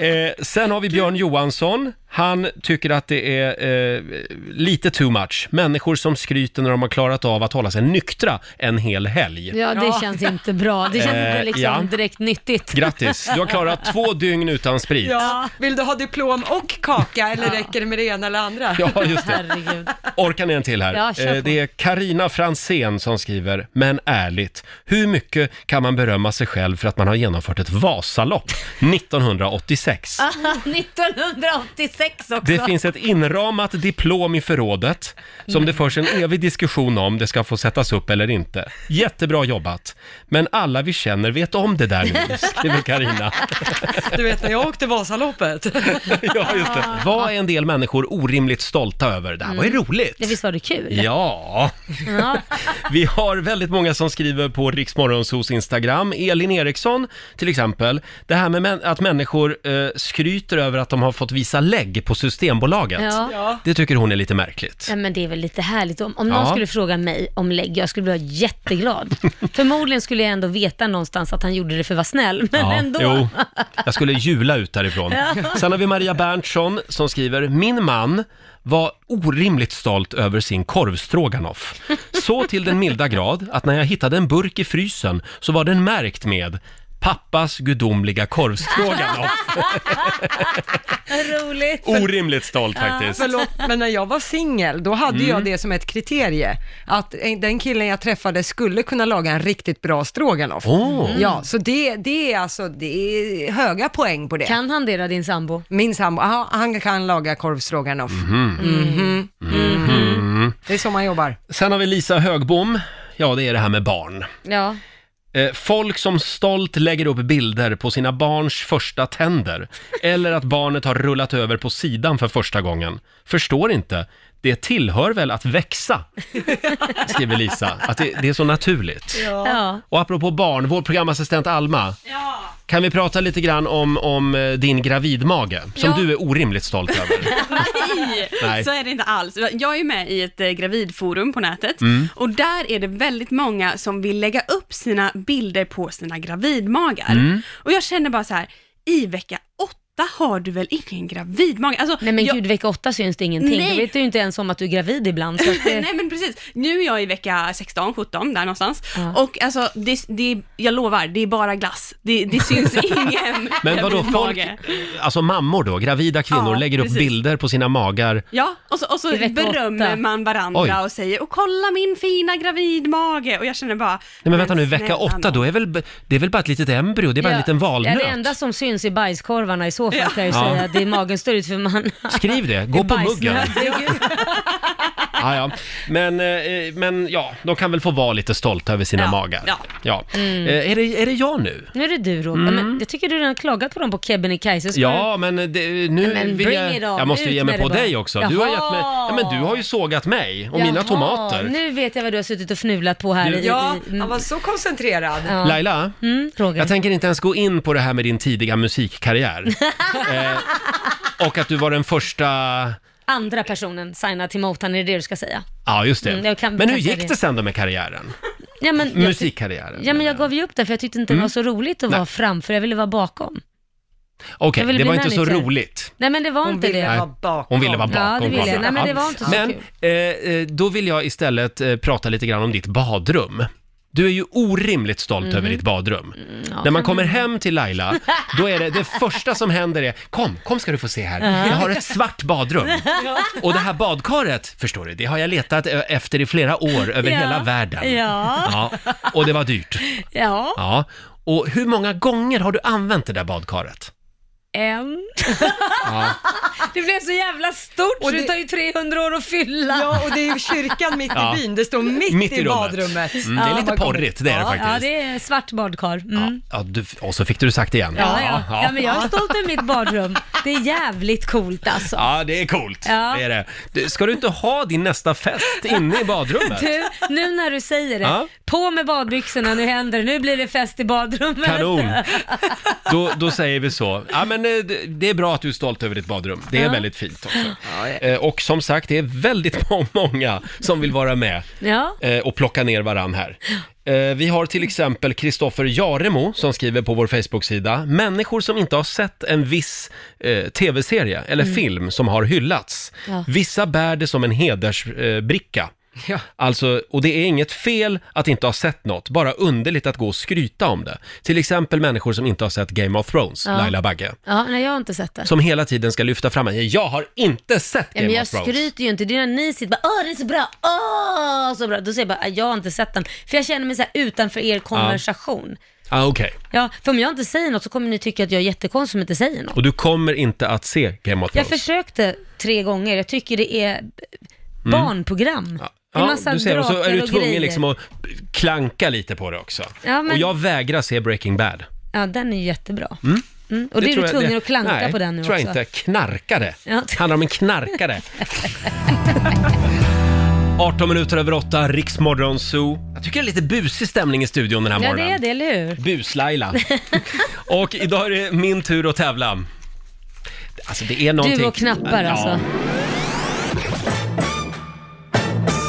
A: Eh, Sen har vi Björn Johansson. Han tycker att det är eh, lite too much. Människor som skryter när de har klarat av att hålla sig nyktra en hel helg.
B: ja, det känns inte bra. Det känns inte
A: Eh,
B: liksom
A: ja.
B: direkt nyttigt.
A: Grattis, du har klarat två dygn utan sprit.
C: Ja. Vill du ha diplom och kaka eller räcker det med det ena eller andra?
A: Ja, just det.
B: Herregud.
A: Orkar ni en till här?
B: Ja, kör
A: Eh,
B: på.
A: det är Karina Fransén som skriver, men ärligt, hur mycket kan man berömma sig själv för att man har genomfört ett Vasalopp 1986?
B: Ah. 1986 också.
A: Det finns ett inramat diplom i förrådet som det förs en evig diskussion om det ska få sättas upp eller inte. Jättebra jobbat! Men alla vi känner vet om det där nu, skriver Karina.
C: Du vet när jag åkte Vasaloppet.
A: Ja, just det. Vad är en del människor orimligt stolta över? Det här var ju roligt!
B: Ja, visst var det kul?
A: Ja,
B: Ja.
A: vi har väldigt många som skriver på Riksmorgonsos Instagram. Elin Eriksson till exempel. Det här med män- att människor eh, skryter över att de har fått visa lägg på Systembolaget.
B: Ja.
A: Det tycker hon är lite märkligt.
B: Nej, men det är väl lite härligt. Om, om någon
A: Ja.
B: skulle fråga mig om lägg, jag skulle bli jätteglad. Förmodligen skulle jag ändå veta någonstans att han gjorde det för att vara snäll, men
A: Ja,
B: ändå.
A: Jo, jag skulle jula ut därifrån.
B: Ja.
A: Sen har vi Maria Berntsson som skriver, min man var orimligt stolt över sin korvstroganoff. Så till den milda grad att när jag hittade en burk i frysen så var den märkt med Pappas gudomliga korvstroganoff.
B: Roligt.
A: Orimligt stolt faktiskt.
C: Förlåt, men när jag var singel, då hade
A: Mm.
C: jag det som ett kriterie. Att eh, den killen jag träffade skulle kunna laga en riktigt bra stroganoff.
A: Åh.
C: Ja, så det, det är alltså, det är höga poäng på det.
B: Kan han det då, din sambo?
C: Min sambo, aha, han kan laga korvstroganoff. Mhm. Det är så man jobbar.
A: Mm. Sen har vi Lisa Högbom. Ja, det är det här med barn.
B: Ja.
A: Eh, Folk som stolt lägger upp bilder på sina barns första tänder eller att barnet har rullat över på sidan för första gången. Förstår inte. Det tillhör väl att växa, skriver Lisa. Att det, det är så naturligt.
B: ja.
A: Och apropå barn, vår programassistent Alma. Kan vi prata lite grann om, om eh, din gravidmage, som
J: Ja.
A: du är orimligt stolt över? Nej.
J: Nej, så är det inte alls. Jag är med i ett eh, gravidforum på nätet och där är det väldigt många som vill lägga upp sina bilder på sina gravidmagar. Och jag känner bara så här, i vecka åtta har du väl ingen gravidmage? Alltså,
B: Nej men
J: jag,
B: gud, vecka åtta syns det ingenting.
J: Nej.
B: Då vet du ju inte ens om att du är gravid ibland. Så att det...
J: Nej men precis, nu är jag i vecka 16, 17 där någonstans. Och alltså, det, det, jag lovar, det är bara glass. Det, det syns ingen
A: Men vadå, folk,
J: gravidmage.
A: alltså mammor då, gravida kvinnor
J: Ja,
A: lägger upp
J: precis.
A: bilder på sina magar.
J: Ja, och så, och så
B: I vecka
J: berömmer
B: åtta.
J: man varandra
A: Oj.
J: och säger och kolla min fina gravidmage och jag känner bara
A: Nej men vänta nu, vecka
J: snälla
A: åtta,
J: nån.
A: då är väl, b- det är väl bara ett litet embryo, det är bara en liten valnöt.
B: Ja, det enda som syns är bajskorvarna i så fall kan jag ju
A: Ja.
B: säga. Det är magen står ut för man...
A: Skriv det, gå på muggen.
B: Herregud.
A: Ja, ja. Men, eh, men ja, de kan väl få vara lite stolta över sina
J: Ja,
A: magar.
J: ja.
B: Mm.
A: Eh, Är, det, är det jag nu?
B: Nu är det du Robert. Men jag tycker du redan klagat på dem på Kebnekaise. Ska
A: Mm. Ja, men det, nu
B: Mm. men
A: vill
B: bring
A: jag...
B: it on.
A: Jag måste ju
B: Ut
A: ge mig
B: med
A: på
B: det bara.
A: dig också. Du har,
B: Jaha.
A: gett mig, ja, men du har ju sågat mig och
B: du-
A: mina
B: Jaha,
A: tomater.
B: Nu vet jag vad du har suttit och fnulat på här.
A: Du-
B: i-
C: Ja,
B: i- mm,
C: han var så koncentrerad.
B: ja.
A: Laila,
B: Mm, Roger.
A: jag tänker inte ens gå in på det här med din tidiga musikkarriär. eh, och att du var den första...
B: Andra personen signar till Motown, är det det du ska säga?
A: Ja, just det.
B: Mm, jag kan-
A: men hur
B: kanske
A: gick
B: det.
A: det sen då med karriären?
B: Ja, men jag ty-
A: Musikkarriären?
B: Ja, men jag gav ju upp där för jag tyckte
A: Mm.
B: inte det var så roligt att vara framför, jag ville vara bakom.
A: Okej,
B: Jag ville
A: det
B: bli
A: var inte så
B: manager.
A: roligt.
B: Nej men det var
C: Hon
B: inte
C: ville
B: det.
C: vara bakom.
A: Hon ville vara bakom
B: Ja, det ville jag.
A: kameran.
B: Nej, men det
A: Ja.
B: var inte så
A: Men
B: kul.
A: eh, eh, då vill jag istället eh, prata lite grann om ditt badrum. Du är ju orimligt stolt
B: Mhm.
A: över ditt badrum.
B: ja,
A: När man
B: kan
A: kommer
B: man-
A: hem till Laila, då är det det första som händer är Kom, kom ska du få se här.
B: Ja.
A: Jag har ett svart badrum. Och det här badkaret, förstår du, det har jag letat ö- efter i flera år över
B: Ja.
A: hela världen.
B: Ja.
A: Ja, Och det var dyrt.
B: Ja.
A: Ja. Och hur många gånger har du använt det där badkaret?
B: En.
A: Ja.
B: Det blev så jävla stort
C: Och
B: så det
C: det-
B: tar ju 300 år att fylla.
C: Ja, och det är ju kyrkan mitt i
A: Ja.
C: byn. Det står mitt,
A: Mitt i
C: i
A: rummet.
C: badrummet.
A: Mm, det är lite
C: man kommer-
A: porrigt, det är det
B: ja,
A: faktiskt.
B: ja, det är svart badkar. Mm.
A: Ja, du, och så fick du det sagt igen.
B: Ja, ja. ja, men jag är stolt över mitt badrum. Det är jävligt coolt alltså.
A: Ja, det är coolt.
B: Ja.
A: Det är det. Du, Ska du inte ha din nästa fest inne i badrummet?
B: Du, nu när du säger det,
A: Ja.
B: på med badbyxorna, nu händer det, nu blir det fest i badrummet.
A: Kanon. Då, då säger vi så. Ja, men eh, det- det är bra att du är stolt över ditt badrum. Det är
B: Ja.
A: väldigt fint också. Eh, Och som sagt, det är väldigt må- många som vill vara med
B: Ja.
A: eh, och plocka ner varann här. Eh, Vi har till exempel Kristoffer Jaremo som skriver på vår Facebook-sida. Människor som inte har sett en viss eh, tv-serie eller
K: Mm.
A: film som har hyllats.
K: Ja.
A: Vissa bär det som en hedersbricka. Alltså, och det är inget fel att inte ha sett något, bara underligt att gå och skryta om det. Till exempel människor som inte har sett Game of Thrones,
B: Ja.
A: Laila Bagge.
B: Ja, nej jag har inte sett det.
A: Som hela tiden ska lyfta fram en. Jag har inte sett
B: Ja,
A: Game
B: men jag
A: of Thrones.
B: skryter ju inte, det är när ni sitter bara åh den är så bra, åh så bra. Då säger jag bara "Ah, jag har inte sett den. För jag känner mig så här utanför er konversation.
A: Ah, okej.
B: Ja, för om jag inte säger något så kommer ni tycka att jag är jättekonstig som inte säger något.
A: Och du kommer inte att se Game of
B: Jag
A: Thrones?
B: försökte tre gånger, jag tycker det är b- barnprogram. Det är
A: Mm. Ja,
B: massa
A: du ser, och så är du
B: drakar och grejer.
A: tvungen liksom att klanka lite på det också.
B: Ja, men-
A: Och jag vägrar se Breaking Bad.
B: Ja, den är ju jättebra.
A: Mm?
B: Mm. Och det, är
A: tror
B: du
A: jag-
B: tvungen att klanka
A: nej,
B: på den nu
A: tror jag
B: också.
A: inte. Knarkare.
B: Ja.
A: Handlar om en knarkare. 18 minuter över 8, Riksmorgon Zoo. Jag tycker det är lite busig stämning i studion den här
B: Ja, det
A: morgonen.
B: är det, eller hur?
A: Bus-Laila. och idag är det min tur att tävla. Alltså det är någonting...
B: Du och knappar
A: Ja.
B: alltså.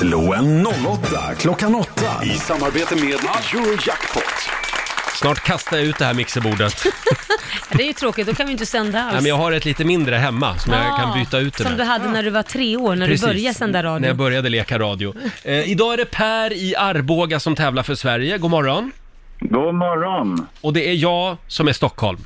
D: Slå en 08 klockan 8.
H: I samarbete med Eurojackpot.
A: Snart kastar jag ut det här mixerbordet.
B: Det är ju tråkigt, då kan vi inte sända alls.
A: Nej, men jag har ett lite mindre hemma som jag
B: Ah,
A: kan byta ut det
B: Som
A: med.
B: du hade när du var tre år, när
A: Precis,
B: du började sända radio.
A: När jag började leka radio. Eh, idag är det Per i Arboga som tävlar för Sverige. God morgon. God morgon. Och det är jag som är Stockholm.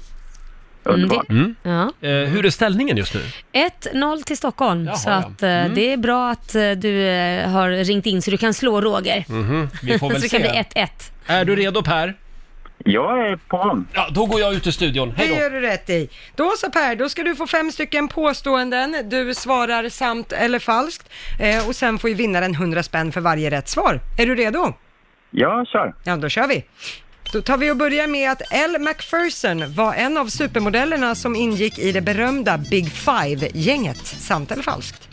B: Underbart.
A: Mm.
B: Ja.
A: Eh, hur är ställningen just nu?
B: 1-0 till Stockholm, så att eh,
A: Mm.
B: det är bra att eh, du eh, har ringt in så du kan slå Roger.
A: Mhm, Vi får väl
B: så det
A: se.
B: kan bli 1-1.
A: Är du redo Per? Jag är på. Ja, då går jag ut ur studion.
C: Det
A: Hej då.
C: gör du rätt i. Då så Per, då ska du få fem stycken påståenden. Du svarar sant eller falskt. Eh, och sen får ju vinnaren 100 spänn för varje rätt svar. Är du redo?
L: Ja, kör.
C: Ja, då kör vi. Då tar vi och börjar med att Elle Macpherson var en av supermodellerna som ingick i det berömda Big Five-gänget. Sant eller falskt?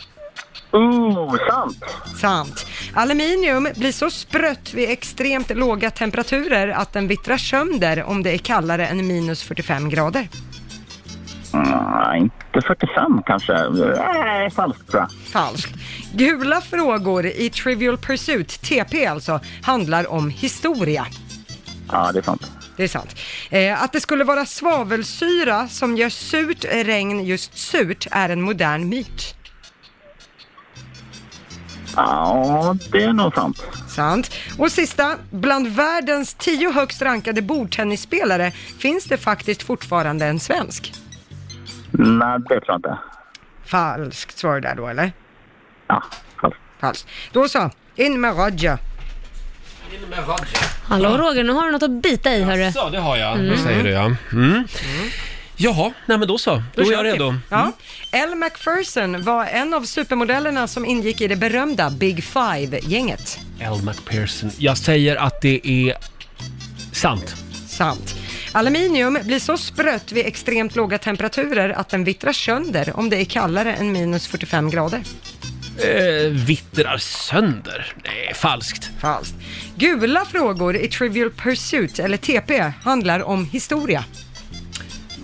L: Oh, sant.
C: Sant. Aluminium blir så sprött vid extremt låga temperaturer att den vittrar sönder om det är kallare än minus 45 grader.
L: Mm, inte 45 kanske. Nej, falskt tror jag.
C: Falskt. Gula frågor i Trivial Pursuit, TP alltså, handlar om historia.
L: Ja, det är sant.
C: Det är sant. Eh, att det skulle vara svavelsyra som gör surt regn just surt är en modern myt.
L: Ja, det är nog sant.
C: Sant. Och sista, bland världens tio högst rankade bordtennisspelare finns det faktiskt fortfarande en svensk.
L: Nej, det tror jag inte.
C: Falskt svar där då, eller? Ja, falskt. Falskt. Då så, in med Roger.
B: Hallå Roger, nu har du något att bita i hörru.
A: Ja, det har jag.
B: Mm.
A: Det säger du ja. Mm. Jaha, nej men då så. Då, är
C: kör
A: jag
C: vi.
A: redo.
C: Ja. Elle Macpherson Mm. var en av supermodellerna som ingick i det berömda Big Five-gänget.
A: Elle McPherson. Jag säger att det är sant.
C: Sant. Aluminium blir så sprött vid extremt låga temperaturer att den vittrar sönder om det är kallare än minus 45 grader.
A: Eh, vittrar sönder. Nej, falskt.
C: Falskt. Gula frågor i Trivial Pursuit, eller TP, handlar om historia.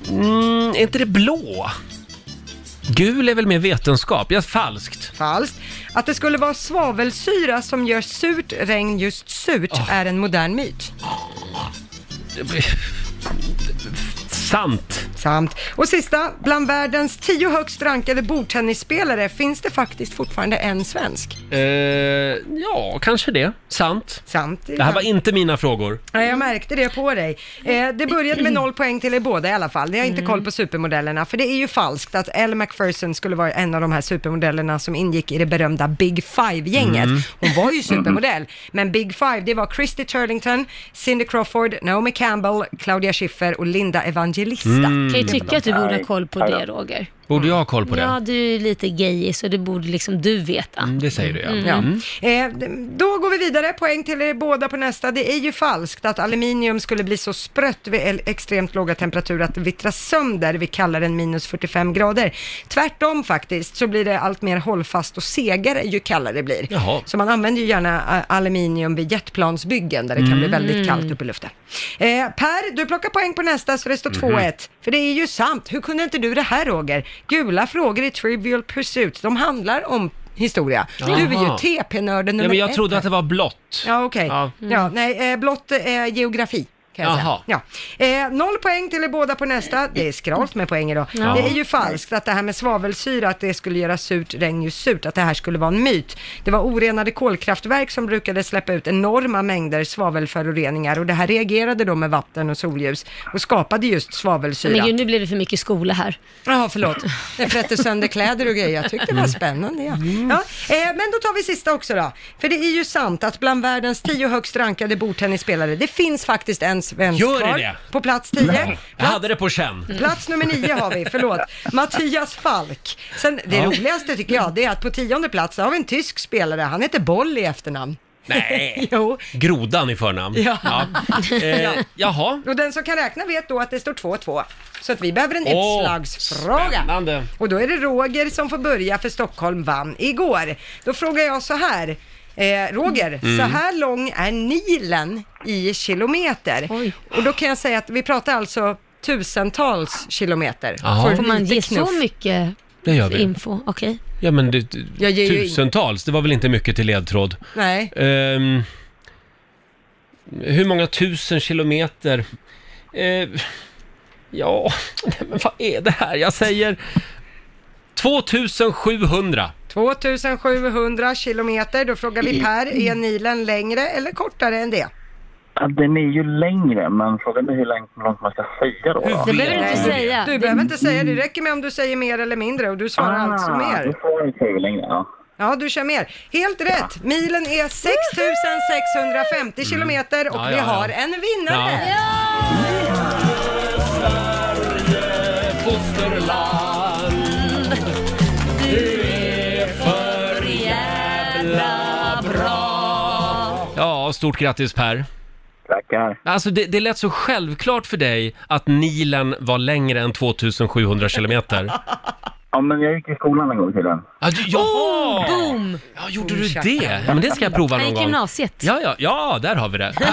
A: Mm, är inte det blå? Gul är väl mer vetenskap? Ja, falskt.
C: Falskt. Att det skulle vara svavelsyra som gör surt regn just
A: Ah.
C: surt är en modern myt.
A: Sant!
C: Sant. Och sista, bland världens tio högst rankade bordtennisspelare finns det faktiskt fortfarande en svensk.
A: Eh, ja, kanske det. Sant.
C: Sant.
A: Det här var inte mina frågor.
C: Ja, jag märkte det på dig. Eh, det började med noll poäng till er båda i alla fall. Ni har inte koll på supermodellerna, för det är ju falskt att Elle Macpherson skulle vara en av de här supermodellerna som ingick i det berömda Big Five-gänget.
E: Mm.
C: Hon var ju supermodell, men Big Five, det var Christy Turlington, Cindy Crawford, Naomi Campbell, Claudia Schiffer och Linda Evangelista.
A: Mm.
B: Kan ju tycka att du borde ha koll på det Roger.
A: Borde jag ha koll på det?
B: Ja, du är ju lite gay så det borde liksom du veta.
A: Mm, det säger du ja.
B: Mm.
C: Ja.
A: Mm.
C: Eh, d- då går vi vidare, poäng till er båda på nästa. Det är ju falskt att aluminium skulle bli så sprött vid el- extremt låga temperaturer att det vittrar sönder vid kallare än minus 45 grader. Tvärtom faktiskt, så blir det allt mer hållfast och segare ju kallare det blir.
E: Jaha.
C: Så man använder ju gärna eh, aluminium vid jetplansbyggen där det kan bli
E: Mm.
C: väldigt kallt uppe i luften. Eh, per, du plockar poäng på nästa så det står
E: Mhm.
C: 2-1. För det är ju sant, hur kunde inte du det här Roger? Gula frågor i Trivial Pursuit, de handlar om historia. Du är ju
A: Jaha.
C: TP-nörden
A: Nej,
C: nummer
A: men jag
C: ett
A: trodde
C: här.
A: att det var blått.
C: Ja, okej.
A: Ja.
C: Ja, nej, eh, blott eh, geografi. Kan jag
A: Jaha.
C: säga. Ja. Eh, noll poäng till er båda på nästa. Det är skralt med poäng idag.
E: Ja.
C: Det är ju falskt att det här med svavelsyra, att det skulle göra surt regn ju surt, att det här skulle vara en myt. Det var orenade kolkraftverk som brukade släppa ut enorma mängder svavelföroreningar och det här reagerade då med vatten och solljus och skapade just svavelsyra.
B: Men gud, nu blev det för mycket skola här.
C: Ja, förlåt. Jag frätte sönder kläder och grejer. Jag tyckte det var spännande. Ja. Ja, eh, men då tar vi sista också då. För det är ju sant att bland världens tio högst rankade bordtennisspelare, det finns faktiskt en svensk
A: Gör det
C: kvar.
A: det?
C: På plats tio.
A: Jag hade det på känn.
C: Plats nummer nio har vi, förlåt. Mattias Falk. Sen, det
A: Ja.
C: roligaste tycker jag, det är att på tionde plats där har vi en tysk spelare. Han heter Boll i efternamn.
A: Nej.
C: jo.
A: Grodan i förnamn.
C: Ja.
A: Eh, jaha.
C: Och den som kan räkna vet då att det står 2-2. Så att vi behöver en
A: Åh,
C: utslagsfråga.
A: spännande.
C: Och då är det Roger som får börja för Stockholm vann igår. Då frågar jag så här. Eh, Roger,
E: Mm.
C: så här lång är Nilen i kilometer. Och då kan jag säga att vi pratar alltså tusentals kilometer.
A: Jaha. Får man
C: lite
B: ge så mycket
A: Det gör vi.
B: info? Okej.
A: Ja, men det,
C: Jag ger ju
A: tusentals, det var väl inte mycket till ledtråd.
C: Nej.
A: Ehm, hur många tusen kilometer? Eh, ja, nej, men vad är det här? Jag säger 2700.
C: 2700 kilometer. Då frågar vi Per, är Nilen längre eller kortare än det?
L: Ja, den är ju längre, men frågan är hur långt, hur långt man ska säga då.
C: Det behöver du inte säga. Du behöver inte säga, det räcker med om du säger mer eller mindre och du svarar alltså
L: Ah,
C: mer.
L: då får jag säga längre, ja.
C: Ja, du kör mer. Helt rätt! Milen är 6650 kilometer och
L: Ja,
C: vi
L: ja, ja.
C: har en vinnare!
A: Ja. Fosterland,
E: du är för jävla bra
A: Ja, stort grattis Per.
L: Tackar.
A: Alltså det, det lät så självklart för dig att Nilen var längre än 2700 kilometer.
L: Ja, men jag gick i skolan en gång till den.
A: Ah, du, jaha!
B: Boom!
A: Ja, gjorde du det? Ja, men det ska jag prova
B: Han
A: någon
B: gick
A: gång.
B: gymnasiet.
A: Ja, ja, ja, där har vi det. Per,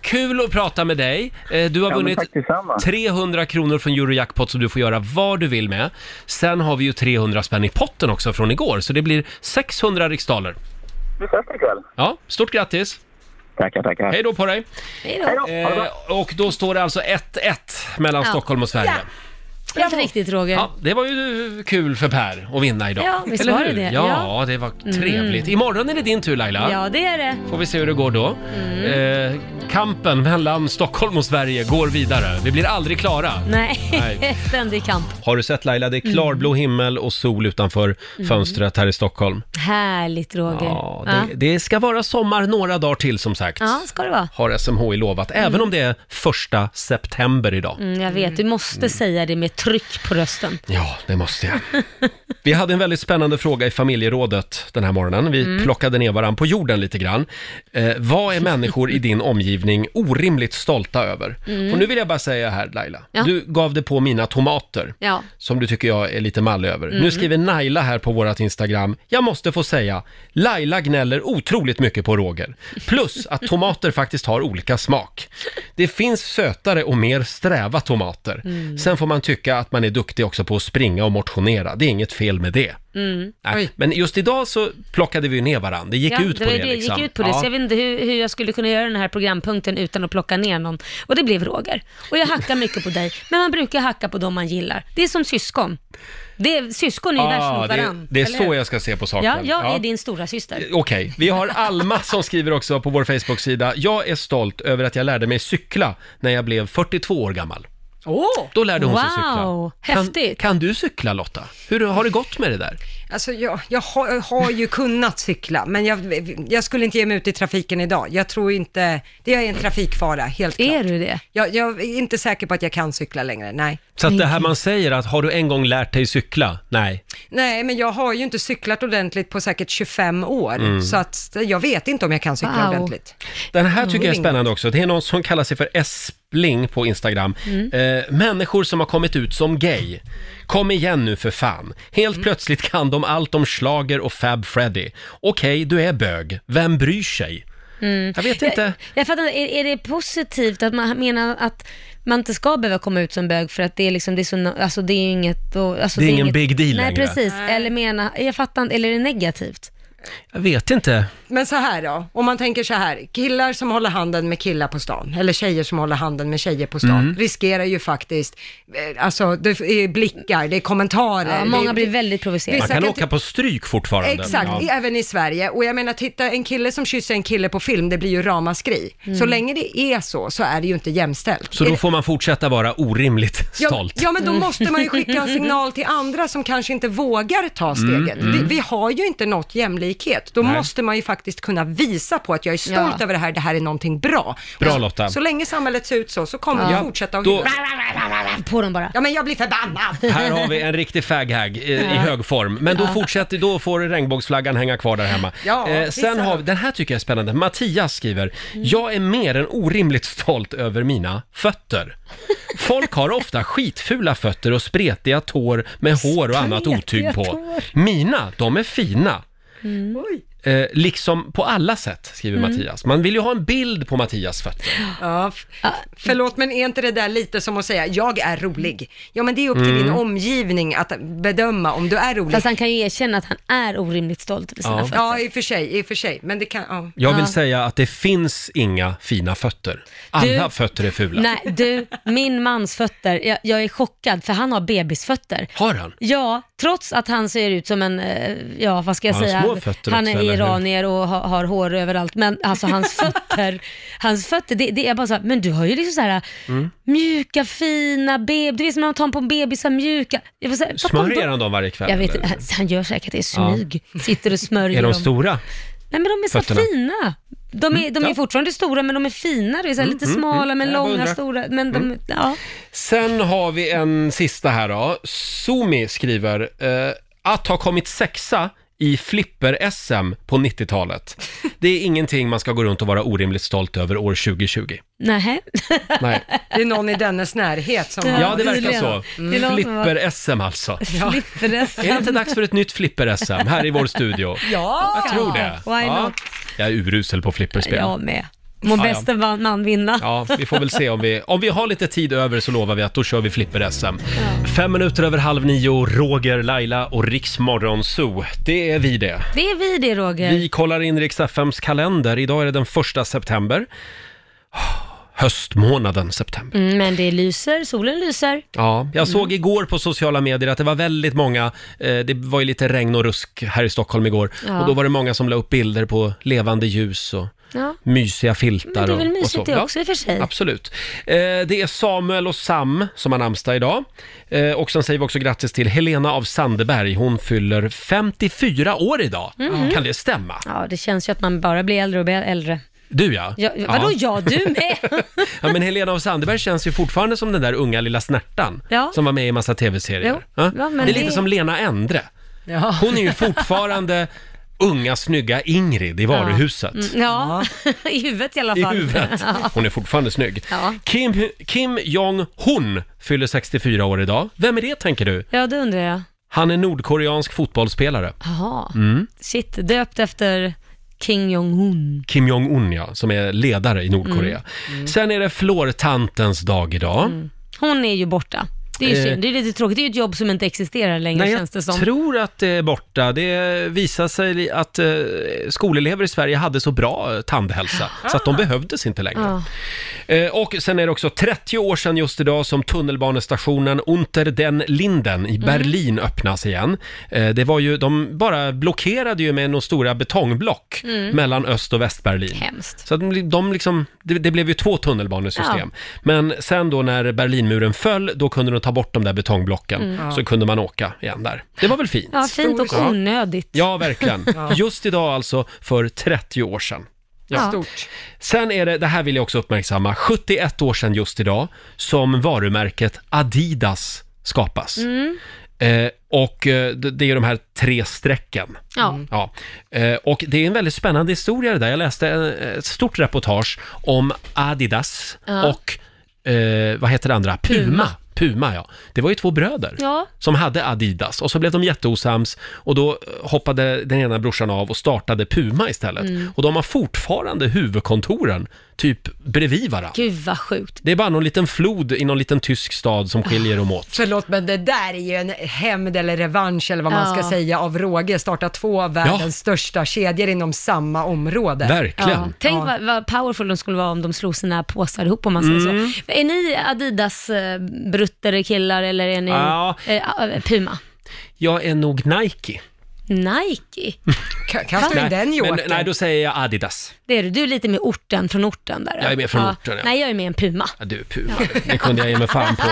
A: Kul att prata med dig. Eh, Du har
L: Ja, men
A: vunnit
L: tack detsamma.
A: 300 kronor från Eurojackpot som du får göra vad du vill med. Sen har vi ju 300 spänn i potten också från igår, så det blir 600 riksdaler.
L: Vi ses ikväll.
A: Ja, stort grattis!
L: Tackar, tackar.
A: Hej då på dig!
B: Hej då.
A: Eh, och då står det alltså 1-1 mellan
B: Ja.
A: Stockholm och Sverige.
B: Helt riktigt Roger.
A: Ja, det var ju kul för Per att vinna idag.
B: Ja, visst
A: Eller
B: var det
A: hur?
B: det?
A: Ja,
B: Ja.
A: det var
B: Mm.
A: trevligt. Imorgon är det din tur Laila.
B: Ja, Mm. det är det.
A: Får vi se hur det går då. Eh, kampen mellan Stockholm och Sverige går vidare. Vi blir aldrig klara. Nej.
B: Nej, ständig kamp.
A: Har du sett Laila, det är klarblå himmel och sol utanför
B: Mm.
A: fönstret här i Stockholm.
B: Härligt Roger.
A: Ja, det, det ska vara sommar några dagar till som sagt.
B: Ja, ska det vara.
A: Har SMHI lovat, även om det är första september idag.
B: Mm, jag vet, du måste säga det med tryck på rösten.
A: Ja, det måste jag. Vi hade en väldigt spännande fråga i familjerådet den här morgonen. Vi
B: Mm.
A: plockade ner varandra på jorden lite grann. Eh, vad är människor i din omgivning orimligt stolta över?
B: Mm.
A: Och nu vill jag bara säga här Laila,
B: Ja.
A: du gav det på mina tomater.
B: Ja.
A: Som du tycker jag är lite mallig över.
B: Mm.
A: Nu skriver Naila här på vårt Instagram, jag måste få säga, Laila gnäller otroligt mycket på Roger. Plus att tomater faktiskt har olika smak. Det finns sötare och mer sträva tomater.
E: Mm.
A: Sen får man tycka tycka att man är duktig också på att springa och motionera. Det är inget fel med det.
B: Mm.
A: Nej. Men just idag så plockade vi ju ner varandra. Det gick
B: ja,
A: ut på
B: var
A: det,
B: ju
A: liksom.
B: gick ut på det,
A: Ja.
B: så jag vet inte hur, hur jag skulle kunna göra den här programpunkten utan att plocka ner någon. Och det blev Roger. Och jag hackar mycket på dig, men man brukar hacka på dem man gillar. Det är som syskon. Det är, syskon är ju värst mot
A: Ah, det,
B: varandra.
A: det är
B: eller
A: så
B: hur?
A: jag ska se på saken.
B: Ja, jag
A: Ja.
B: är din stora syster.
A: Okej, vi har Alma som skriver också på vår Facebook-sida. Jag är stolt över att jag lärde mig cykla när jag blev 42 år gammal.
C: Åh!
A: Då lärde hon sig
C: Wow,
A: cykla. Häftigt! Kan, kan du cykla Lotta? Hur har det gått med det där?
C: Alltså jag, jag, har, jag har ju kunnat cykla, men jag, jag skulle inte ge mig ut i trafiken idag. Jag tror inte, det är en trafikfara, helt klart. Är
B: du det?
C: Jag, jag är inte säker på att jag kan cykla längre, nej.
A: Så att det här man säger att har du en gång lärt dig cykla? Nej.
C: Nej, men jag har ju inte cyklat ordentligt på säkert 25 år,
A: Mm.
C: så att jag vet inte om jag kan cykla
A: Wow.
C: ordentligt.
A: Den här tycker jag är
C: Mm.
A: spännande också. Det är någon som kallar sig för Espling på Instagram.
C: Mm.
A: Eh, människor som har kommit ut som gay. Kom igen nu för fan. Helt
C: Mm.
A: plötsligt kan de allt om slager och Fab Freddy. Okej, du är bög. Vem bryr sig?
B: Mm.
A: Jag vet inte.
B: Jag, fattar inte, är, är det positivt att man menar att man inte ska behöva komma ut som bög för att det är liksom, det är så, no- alltså det är ju inget... och- Alltså
A: Det är
B: är
A: ingen
B: inget,
A: big deal
B: Nej,
A: längre.
B: precis. Eller menar, jag fattar inte, eller är det negativt?
A: Jag vet inte.
C: Men så här då, om man tänker så här, killar som håller handen med killar på stan, eller tjejer som håller handen med tjejer på stan,
B: Mm.
C: riskerar ju faktiskt, eh, alltså det är blickar, det är kommentarer.
B: Ja, många
C: det är,
B: blir väldigt provocerade.
A: Man kan åka på stryk fortfarande.
C: Exakt, i- även i Sverige. Och jag menar, titta, en kille som kysser en kille på film, det blir ju ramaskri.
B: Mm.
C: Så länge det är så, så är det ju inte jämställt.
A: Så
C: Är
A: då
C: det-
A: får man fortsätta vara orimligt
C: Ja,
A: stolt. Mm.
C: ja, men då måste man ju skicka en signal till andra som kanske inte vågar ta
A: Mm,
C: steget.
A: mm.
C: Vi, vi har ju inte nått jämlikhet. Då
A: Nej.
C: måste man ju faktiskt kunna visa på att jag är stolt
A: Ja.
C: över det här, det här är någonting bra.
A: Bra,
C: Och så-
A: Lotta.
C: Så länge samhället ser ut så, så kommer
A: Ja.
C: vi fortsätta att
A: Då-
C: hylla.
B: På dem bara.
C: Ja, men jag blir förbannad.
A: Här har vi en riktig faghag eh, i,
C: Ja.
A: i hög form. Men då
C: Ja.
A: fortsätter, då får regnbågsflaggan hänga kvar där hemma. Eh,
C: Ja,
A: sen
C: visst.
A: har vi, den här tycker jag är spännande. Mattias skriver, jag är mer än orimligt stolt över mina fötter. Folk har ofta skitfula fötter och spretiga tår med hår och annat
E: Spretiga
A: otyg på.
E: tår.
A: Mina, de är fina.
E: Mm.
A: Eh, liksom på alla sätt, skriver
C: Mm.
A: Mattias. Man vill ju ha en bild på Mattias fötter.
C: Ja, f- förlåt, men är inte det där lite som att säga, jag är rolig? Ja, men det är upp till
A: Mm.
C: din omgivning att bedöma om du är rolig.
B: Fast han kan ju erkänna att han är orimligt stolt över sina
A: Ja.
B: fötter.
C: Ja, i och för sig, i och för sig. Men det kan, ja.
A: Jag vill säga att det finns inga fina fötter. Alla
B: Du-
A: fötter är fula.
B: Nej, du, min mans fötter, jag, jag är chockad för han har bebisfötter.
A: Har han?
B: Ja, trots att han ser ut som en, eh, ja vad ska jag
A: Har han
B: säga,
A: små fötter
B: han
A: också,
B: är
A: eller hur?
B: iranier och har, har hår överallt, men alltså hans fötter, hans fötter, det, det är bara så här, men du har ju liksom så här
A: Mm.
B: mjuka, fina bebis, du vet som när man tar på en bebis, så här mjuka. Jag var så här, vad kom
A: Smörjer
B: de-
A: han dem varje kväll?
B: Jag vet
A: eller?
B: inte, han- han gör säkert det i smyg, sitter och smörjer
A: Är de
B: dem.
A: stora?
B: Nej men de är så
A: fötterna?
B: fina. De är,
A: Mm,
B: de är
A: ja.
B: fortfarande stora men de är fina, det är så här
A: Mm,
B: lite
A: mm,
B: smala
A: mm.
B: men
A: Jag bara
B: långa,
A: undrar.
B: stora, men de,
A: Mm.
B: ja.
A: Sen har vi en sista här då. Sumi skriver, eh, att ha kommit sexa i flipper-SM på 90-talet. Det är ingenting man ska gå runt och vara orimligt stolt över år 2020.
B: Nej.
A: Nej.
C: Det är någon i dennes närhet som
A: Ja, det verkar så.
C: Mm.
A: Flipper-SM alltså.
B: Flipper-SM.
A: Är det inte dags för ett nytt flipper-SM här i vår studio?
B: Ja!
A: Jag tror det.
B: Why
A: Ja.
B: not?
A: Jag är urusel på flipperspel.
B: Jag med. Må
A: Ja, ja.
B: bästa man, man vinna.
A: Ja, vi får väl se om vi, om vi har lite tid över så lovar vi att då kör vi flipper-SM. Fem minuter över halv nio, Roger, Laila och Riksmorgon Zoo. Det är vi det.
B: Det är vi det Roger.
A: Vi kollar in Rix FMs kalender. Idag är det den första september. Höstmånaden september.
B: Mm, men det lyser, solen lyser.
A: Ja, jag
B: Mm.
A: såg igår på sociala medier att det var väldigt många, eh, det var ju lite regn och rusk här i Stockholm igår,
B: Ja.
A: och då var det många som la upp bilder på levande ljus och
B: Ja.
A: mysiga filtar.
B: Men det är väl
A: och-
B: mysigt
A: och så.
B: det också i och för sig.
A: Absolut. Eh, det är Samuel och Sam som har namnsdag idag. Eh, och sen säger vi också grattis till Helena av Sandeberg. Hon fyller 54 år idag.
B: Mhm.
A: Kan det stämma?
B: Ja, det känns ju att man bara blir äldre och blir äldre.
A: Du ja.
B: Ja, vadå ja, du med?
A: ja men Helena av Sandeberg känns ju fortfarande som den där unga lilla snärtan
B: Ja.
A: som var med i en massa tv-serier.
B: Jo. Ja, men
A: det är lite
B: det-
A: som Lena Endre. Hon är ju fortfarande unga snygga Ingrid i varuhuset.
B: Mm, Ja, i huvudet i alla
A: I
B: fall.
A: huvudet.
B: Ja.
A: Hon är fortfarande snygg.
B: Ja.
A: Kim, Kim Jong-Hun fyller 64 år idag. Vem är det tänker du?
B: ja, det undrar jag.
A: Han är nordkoreansk fotbollsspelare.
B: Jaha,
A: Mm.
B: shit, döpt efter King Jong-Un.
A: Kim Jong-Un ja, som är
B: Mm.
A: ledare i Nordkorea. Sen är det flortantens dag idag.
B: Hon är ju borta. Det är ju
A: Eh,
B: synd. Det är lite tråkigt. Det är ju ett jobb som inte existerar längre
A: Nej,
B: känns det som.
A: jag tror att det är borta. Det visar sig att eh, skolelever i Sverige hade så bra eh, tandhälsa så
B: Ah.
A: att de behövdes inte längre.
B: Ja. Ah.
A: Eh, Och sen är det också 30 år sedan just idag som tunnelbanestationen Unter den Linden
B: Mm.
A: i Berlin öppnas igen. Eh, Det var ju, de bara blockerade ju med några stora betongblock
E: Mm.
A: mellan Öst och Västberlin.
E: Hemskt.
A: Så att de, de liksom, det, det blev ju två tunnelbanesystem.
E: Ja.
A: Men sen då när Berlinmuren föll, då kunde de ta bort de där betongblocken.
B: Mm.
A: Så kunde man åka igen där. Det var väl fint?
B: Ja, fint och
A: Ja.
B: onödigt.
A: Ja, verkligen.
B: Ja.
A: Just idag alltså för 30 år sedan.
B: Ja.
A: Sen är det, det här vill jag också uppmärksamma, 71 år sedan just idag som varumärket Adidas skapas.
E: Mm.
A: Eh, och eh, det det är de här tre strecken.
E: Ja.
A: Ja. Eh, och det är en väldigt spännande historia det där. Jag läste eh, ett stort reportage om Adidas
B: Ja.
A: och, eh, vad heter det andra, Puma. Puma.
B: Puma.
A: ja. Det var ju två bröder
B: Ja.
A: som hade Adidas och så blev de jätteosams och då hoppade den ena brorsan av och startade Puma istället.
B: Mm.
A: Och de har fortfarande huvudkontoren typ bredvid varandra.
B: Gud vad sjukt.
A: Det är bara någon liten flod i någon liten tysk stad som skiljer dem åt.
C: Förlåt, men det där är ju en hämnd eller revansch eller vad man
B: Ja.
C: ska säga av råge. Starta två av världens största kedjor inom samma område.
B: Ah. Ja. Tänk Vad, vad powerful de skulle vara om de slog sina påsar ihop om man säger
A: Mm.
B: så. Är ni Adidas-bruttare killar eller är ni
A: Ja.
B: eh, eh, Puma?
A: Jag är nog Nike.
B: Nike?
C: Kastar in
A: Nej,
C: den
A: men,
C: jokern.
A: Nej, då säger jag Adidas.
B: Det är du. Du är lite mer orten, från orten där.
A: Jag är mer från orten, ja.
B: Nej, jag är mer en Puma.
A: Ja, du Puma, det kunde jag ge mig fan på.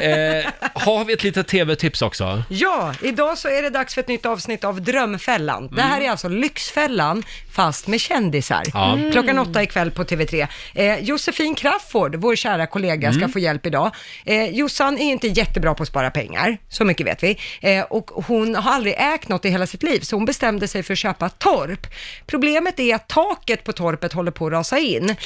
A: Eh, har vi ett litet tv-tips också?
C: Ja, idag så är det dags för ett nytt avsnitt av Drömfällan. Det här är alltså Lyxfällan fast med kändisar.
E: Mm. Ja. Mm.
C: Klockan åtta ikväll på TV3. Eh, Josefin Crafoord, vår kära kollega, ska
E: Mm.
C: få hjälp idag. Eh, Jossan är inte jättebra på att spara pengar, så mycket vet vi. Eh, och hon har aldrig ägt något i hela sitt liv, så hon bestämde sig för att köpa torp. Problemet är att taket på torpet håller på att rasa in.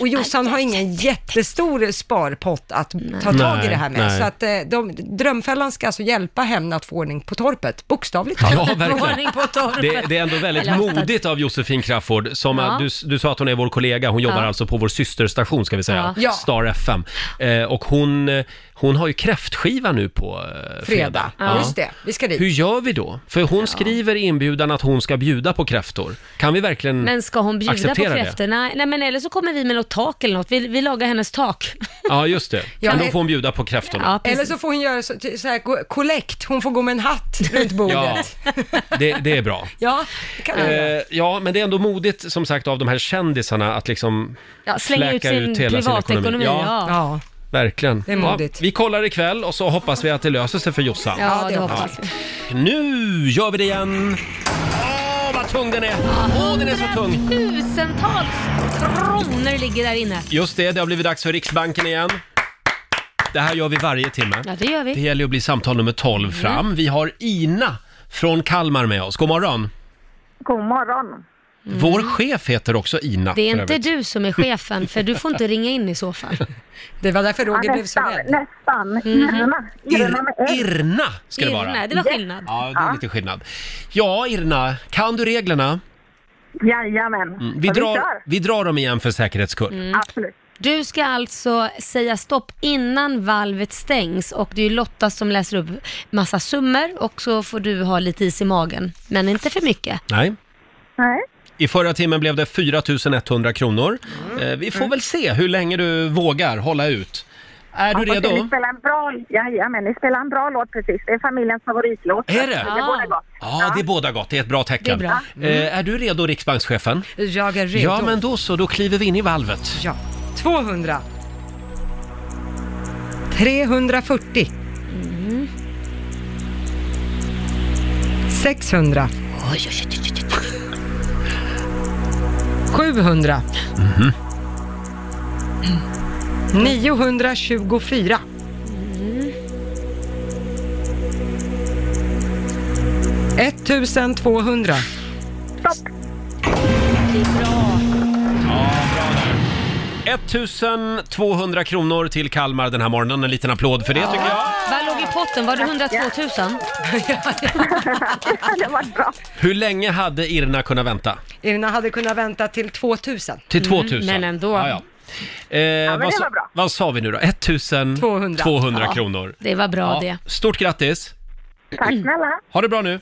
C: Och Jossan har ingen jättestor sparpott att ta tag i det här med.
A: Nej, nej.
C: Så att att eh, de, drömfällan ska alltså hjälpa henne att få ordning på torpet, bokstavligt
A: Ja, verkligen.
B: på torpet.
A: Det, det är ändå väldigt
B: Eller att-
A: modigt av Josefin Crafoord. Som
B: Ja.
A: att du, du sa att hon är vår kollega, hon jobbar
B: Ja.
A: alltså på vår systerstation ska vi säga,
B: Ja.
A: Star FM. Eh, och hon, eh, hon har ju kräftskiva nu på eh, fredag.
C: Fredag,
A: Ja.
C: just det. Vi ska dit.
A: Hur gör vi då? För hon skriver i inbjudan att hon ska bjuda på kräftor. Kan vi verkligen
B: Men ska hon bjuda på
A: acceptera det?
B: kräftorna? Nej, men eller så kommer vi med något tak eller något. Vi, vi lagar hennes tak.
A: Ja, just det.
C: Ja,
A: Men då
C: men-
A: får hon bjuda på kräftorna.
C: Eller så får hon göra så, ty- så här, gå- kollekt, hon får gå med en hatt runt
A: Ja,
C: bordet.
A: det, det är bra.
C: Ja, det kan hon göra.
A: Eh, ja, men det är ändå modigt som sagt av de här kändisarna att liksom
C: Ja, slänga ut
A: fläka
C: sin
A: hela sin
C: privatekonomi,
A: ekonomi.
C: ja. Ja.
A: Verkligen.
C: Det är modigt.
A: Ja, vi kollar ikväll och så hoppas vi att det löser sig för Jossan.
E: Ja, det hoppas vi.
A: Nu gör vi det igen! Åh, vad tung den är! Åh, den är så tung!
B: Tusentals kronor ligger där inne.
A: Just det, det har blivit dags för Riksbanken igen. Det här gör vi varje timme.
B: Ja, det gör vi.
A: Det gäller att bli samtal nummer 12
B: Mm.
A: fram. Vi har Ina från Kalmar med oss. God morgon!
G: God morgon.
A: Vår chef heter också Ina.
B: Det
A: för
B: är inte
A: övrigt.
B: du som är chefen, för du får inte ringa in i så fall.
C: Det var därför
G: Roger Ja, blev så nästan, rädd. Nästan. Irna. Irna med
A: Ir- Irna ska det
B: Irna,
A: vara.
B: det var skillnad.
A: Ja, det är lite skillnad. Ja, Irna, kan du reglerna?
G: Jajamän.
A: Mm, Vi, drar, Mm. vi drar dem igen för säkerhets skull.
G: Absolut.
B: Du ska alltså säga stopp innan valvet stängs och det är ju Lotta som läser upp massa summor och så får du ha lite is i magen, men inte för mycket.
A: Nej.
G: Nej.
A: I förra timmen blev det 4 100 kronor. Eh, Vi får väl se hur länge du vågar hålla ut. Är du
G: Hoppas Ni
A: redo?
G: spelar en bra, jajamän, ni spelar en bra låt precis. Det är familjens favoritlåt.
A: Är det?
G: Det båda gott.
A: Ja, det är båda gott. Det är ett bra tecken.
G: Det är bra. Mm.
A: Eh, Är du redo, riksbankschefen?
C: Jag är redo.
A: Ja, men då så. Då kliver vi in i valvet.
C: Ja. 200. 340. 600. 700. 924. 1200.
G: Stopp!
A: 1200 kronor till Kalmar den här morgonen. En liten applåd för det tycker jag.
B: Vad låg i potten? Var det 102 000?
G: det var bra.
A: Hur länge hade Irna kunnat vänta?
C: Irina hade kunnat vänta till 2000.
B: Mm,
A: Till 2000?
C: men ändå.
A: Ja, ja. Eh,
B: men
A: vad,
B: det
A: sa-
B: var bra.
A: vad sa vi nu då? 1200 200 kronor.
B: Det var bra
A: Ja,
B: det.
A: Stort grattis!
G: Tack snälla.
A: Ha det bra nu!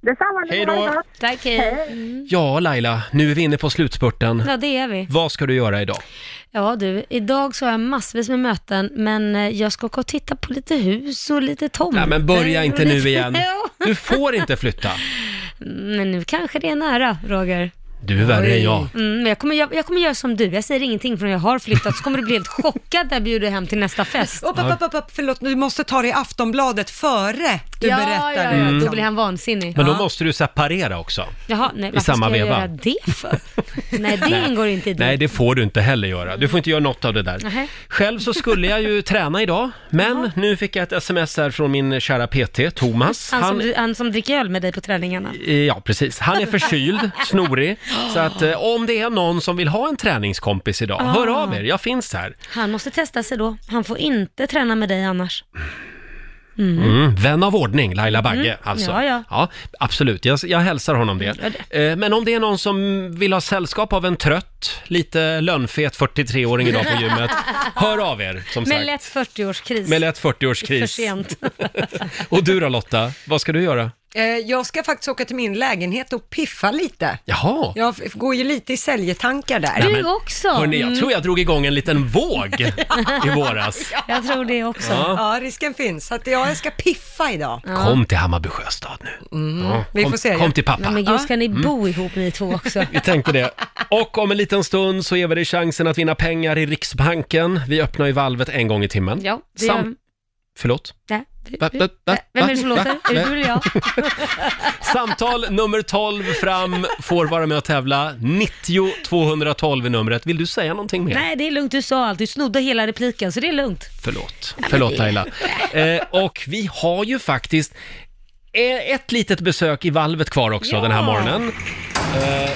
G: Detsamma.
A: Hej då.
G: Ha det gott.
B: Tack, hej. Mm.
A: Ja, Laila, nu är vi inne på slutspurten.
B: Ja, det är vi.
A: Vad ska du göra idag?
B: Ja du, idag så har jag massvis med möten, men eh, jag ska åka och titta på lite hus och lite tomter.
A: Nej, men börja inte
B: och
A: nu
B: lite-
A: igen.
B: Jo.
A: Du får inte flytta.
B: Men nu kanske det är nära, Roger.
A: Du är värre än jag.
B: Mm, men jag, kommer, jag, jag kommer göra som du, jag säger ingenting förrän jag har flyttat, så kommer du bli helt chockad när jag bjuder hem till nästa fest.
C: Upp, upp, upp, upp, förlåt, du måste ta det i Aftonbladet före du
B: ja,
C: berättar.
B: ja,
A: det,
B: ja,
C: Mm.
A: liksom.
B: då blir han vansinnig.
A: Men då
B: Ja.
A: måste du separera också.
B: Jaha, nej,
A: i
B: varför
A: samma
B: ska jag
A: veva.
B: göra det för? Nej, det
A: Nej.
B: ingår inte i det.
A: Nej, det får du inte heller göra. Du får inte göra något av det där.
B: Nähä.
A: Själv så skulle jag ju träna idag, men nu fick jag ett sms här från min kära PT, Thomas.
B: Han, som, han som dricker öl med dig på träningarna.
A: Eh, Ja, precis. Han är förkyld, snorig. Så att eh, om det är någon som vill ha en träningskompis idag,
B: Ah.
A: hör av er. Jag finns här.
B: Han måste testa sig då. Han får inte träna med dig annars. Mm.
A: Mm, vän av ordning, Laila Bagge
B: Mm,
A: alltså.
B: ja, Mm, ja.
A: absolut. Jag, jag hälsar honom det. Eh, Men om det är någon som vill ha sällskap av en trött, lite lönnfet 43-åring idag på gymmet, hör av er som
B: Med
A: sagt.
B: lätt 40-årskris.
A: Med lätt
B: För
A: 40-årskris.
B: sent.
A: Och du då Lotta, vad ska du göra?
C: Eh, Jag ska faktiskt åka till min lägenhet och piffa lite.
A: Jaha!
C: Jag f- går ju lite i säljetankar där.
A: Nej, men, Hörni,
B: Mm.
A: jag tror jag drog igång en liten våg i våras.
B: Jag tror det också.
A: Ja.
C: Ja, risken finns. Så att ja, jag ska piffa idag.
A: Kom till Hammarby sjöstad nu.
B: Mm.
A: Ja,
C: Vi
A: kom,
C: får se.
A: Kom till pappa.
B: Nej, men gud, ska ni
A: Mm.
B: bo ihop ni två också?
A: Vi tänkte det. Och om en liten stund så ger vi dig chansen att vinna pengar i Riksbanken. Vi öppnar ju valvet en gång i timmen.
B: Ja, det
A: Sam-
B: gör...
A: Förlåt?
B: Nej.
A: Va- va- va-
B: Vem är det som
A: va-
B: låter?
A: va-
B: Är det du eller jag?
A: Samtal nummer 12 fram får vara med och tävla. 90 212 är numret. Vill du säga någonting mer?
B: Nej, det är lugnt. Du sa allt. Du snodde hela repliken, så det är lugnt.
A: Förlåt. Förlåt Laila. Eh, och vi har ju faktiskt eh, ett litet besök i valvet kvar också den här morgonen. Eh,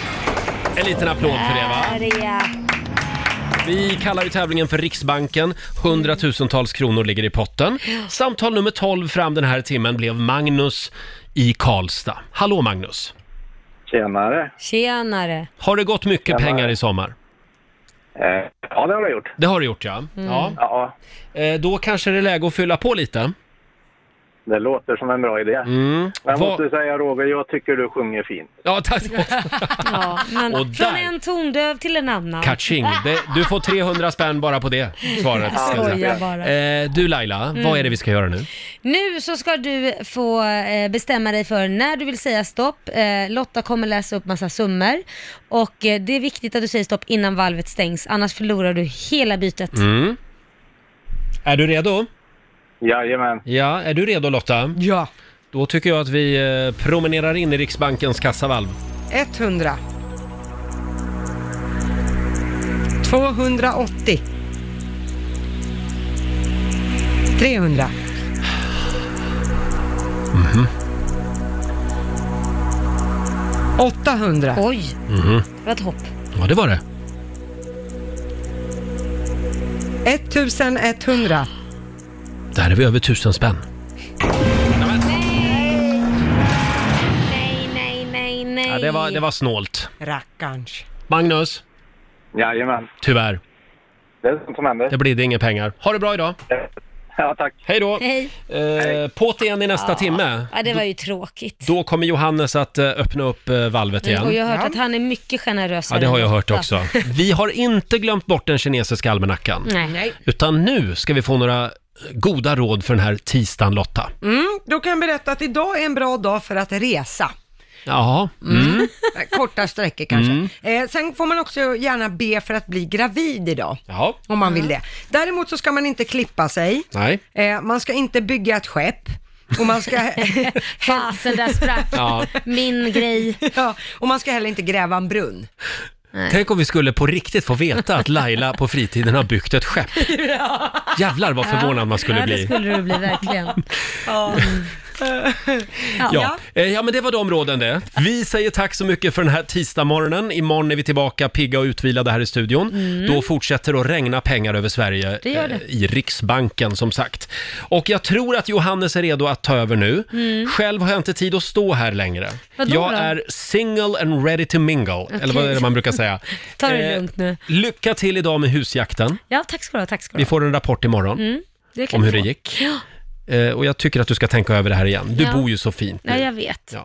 A: en liten applåd för det va?
B: Där är jag.
A: Vi kallar ju tävlingen för Riksbanken. Hundratusentals kronor ligger i potten. Samtal nummer 12 fram den här timmen blev Magnus i Karlstad. Hallå Magnus!
K: Tjenare!
B: Tjenare.
A: Har det gått mycket pengar i sommar?
K: Eh, Ja, det har jag gjort.
A: Det har det gjort ja.
K: Mm.
A: ja. Eh, Då kanske det är läge att fylla på lite.
K: Det låter som en bra idé. Men jag
A: Vad-
K: måste säga Roger, jag tycker du sjunger fint.
A: Ja, tack!
B: Ja, men
A: Och
B: från
A: där.
B: en tondöv till en annan.
A: Catching! Det, du får 300 spänn bara på det svaret.
B: Jag
A: ska jag
B: skojar
A: säga.
B: bara.
A: Eh, Du Laila,
B: Mm.
A: vad är det vi ska göra nu?
B: Nu så ska du få eh, bestämma dig för när du vill säga stopp. Eh, Lotta kommer läsa upp massa summor och eh, det är viktigt att du säger stopp innan valvet stängs, annars förlorar du hela bytet.
A: Mm. Är du redo?
K: Jajamän.
A: Ja, är du redo Lotta?
C: Ja.
A: Då tycker jag att vi eh, promenerar in i Riksbankens kassavalv.
C: 100. 280. 300.
A: Mhm.
C: 800.
B: Oj,
A: Mhm.
B: det var ett hopp.
A: Ja, det var det.
C: 1100.
A: Där är vi över tusen spänn.
B: Nej, nej, nej, nej.
A: Ja, det, var, det var snålt.
C: Rackarns.
A: Magnus?
K: Jajamän.
A: Tyvärr.
K: Det är sånt som händer.
A: Det blir det inga pengar. Ha det bra idag!
K: Ja, tack.
A: Hej då!
B: Hej.
A: Eh, på't igen i nästa
B: Ja.
A: timme.
B: Ja, det var ju tråkigt.
A: Då kommer Johannes att eh, öppna upp eh, valvet igen.
B: Och jag har hört att han är mycket generösare.
A: Ja, det har jag
B: än
A: hört
B: Lotta.
A: också. Vi har inte glömt bort den kinesiska almanackan.
B: Nej.
A: Utan nu ska vi få några goda råd för den här tisdagen, Lotta.
C: Mm, då kan jag berätta att idag är en bra dag för att resa. Eh,
A: Jaha. Mm.
C: Korta sträckor kanske.
A: Mm.
C: Eh, sen får man också gärna be för att bli gravid idag.
A: Jaha.
C: Om man vill det. Däremot så ska man inte klippa sig.
A: Nej.
C: Eh, man ska inte bygga ett skepp. Och man ska...
B: Fasen, där sprack
A: Ja.
B: min grej.
C: Ja, och man ska heller inte gräva en brunn.
A: Tänk om vi skulle på riktigt få veta att Laila på fritiden har byggt ett skepp. Jävlar vad förvånad man skulle
B: ja,
A: bli.
B: det skulle du bli verkligen.
C: Ja.
A: Ja. Ja. Eh, ja, men det var de råden det. Vi säger tack så mycket för den här tisdagsmorgonen. Imorgon är vi tillbaka pigga och utvilade här i studion.
B: Mm.
A: Då fortsätter det att regna pengar över Sverige
B: Det gör det.
A: eh, i Riksbanken som sagt. Och jag tror att Johannes är redo att ta över nu.
B: Mm.
A: Själv har jag inte tid att stå här längre.
B: Vadå
A: jag
B: då?
A: är single and ready to mingle, eller vad är det man brukar säga.
B: Ta det
A: Eh,
B: lugnt nu.
A: Lycka till idag med husjakten.
B: Ja, tack ska du ha, tack ska du
A: Vi
B: ha.
A: får en rapport imorgon
B: Mm, det kan
A: om hur
B: vi
A: det
B: få.
A: gick.
B: Ja,
A: Eh, Och jag tycker att du ska tänka över det här igen. Du
B: Ja.
A: bor ju så fint nu.
B: nej, jag vet.
A: Ja.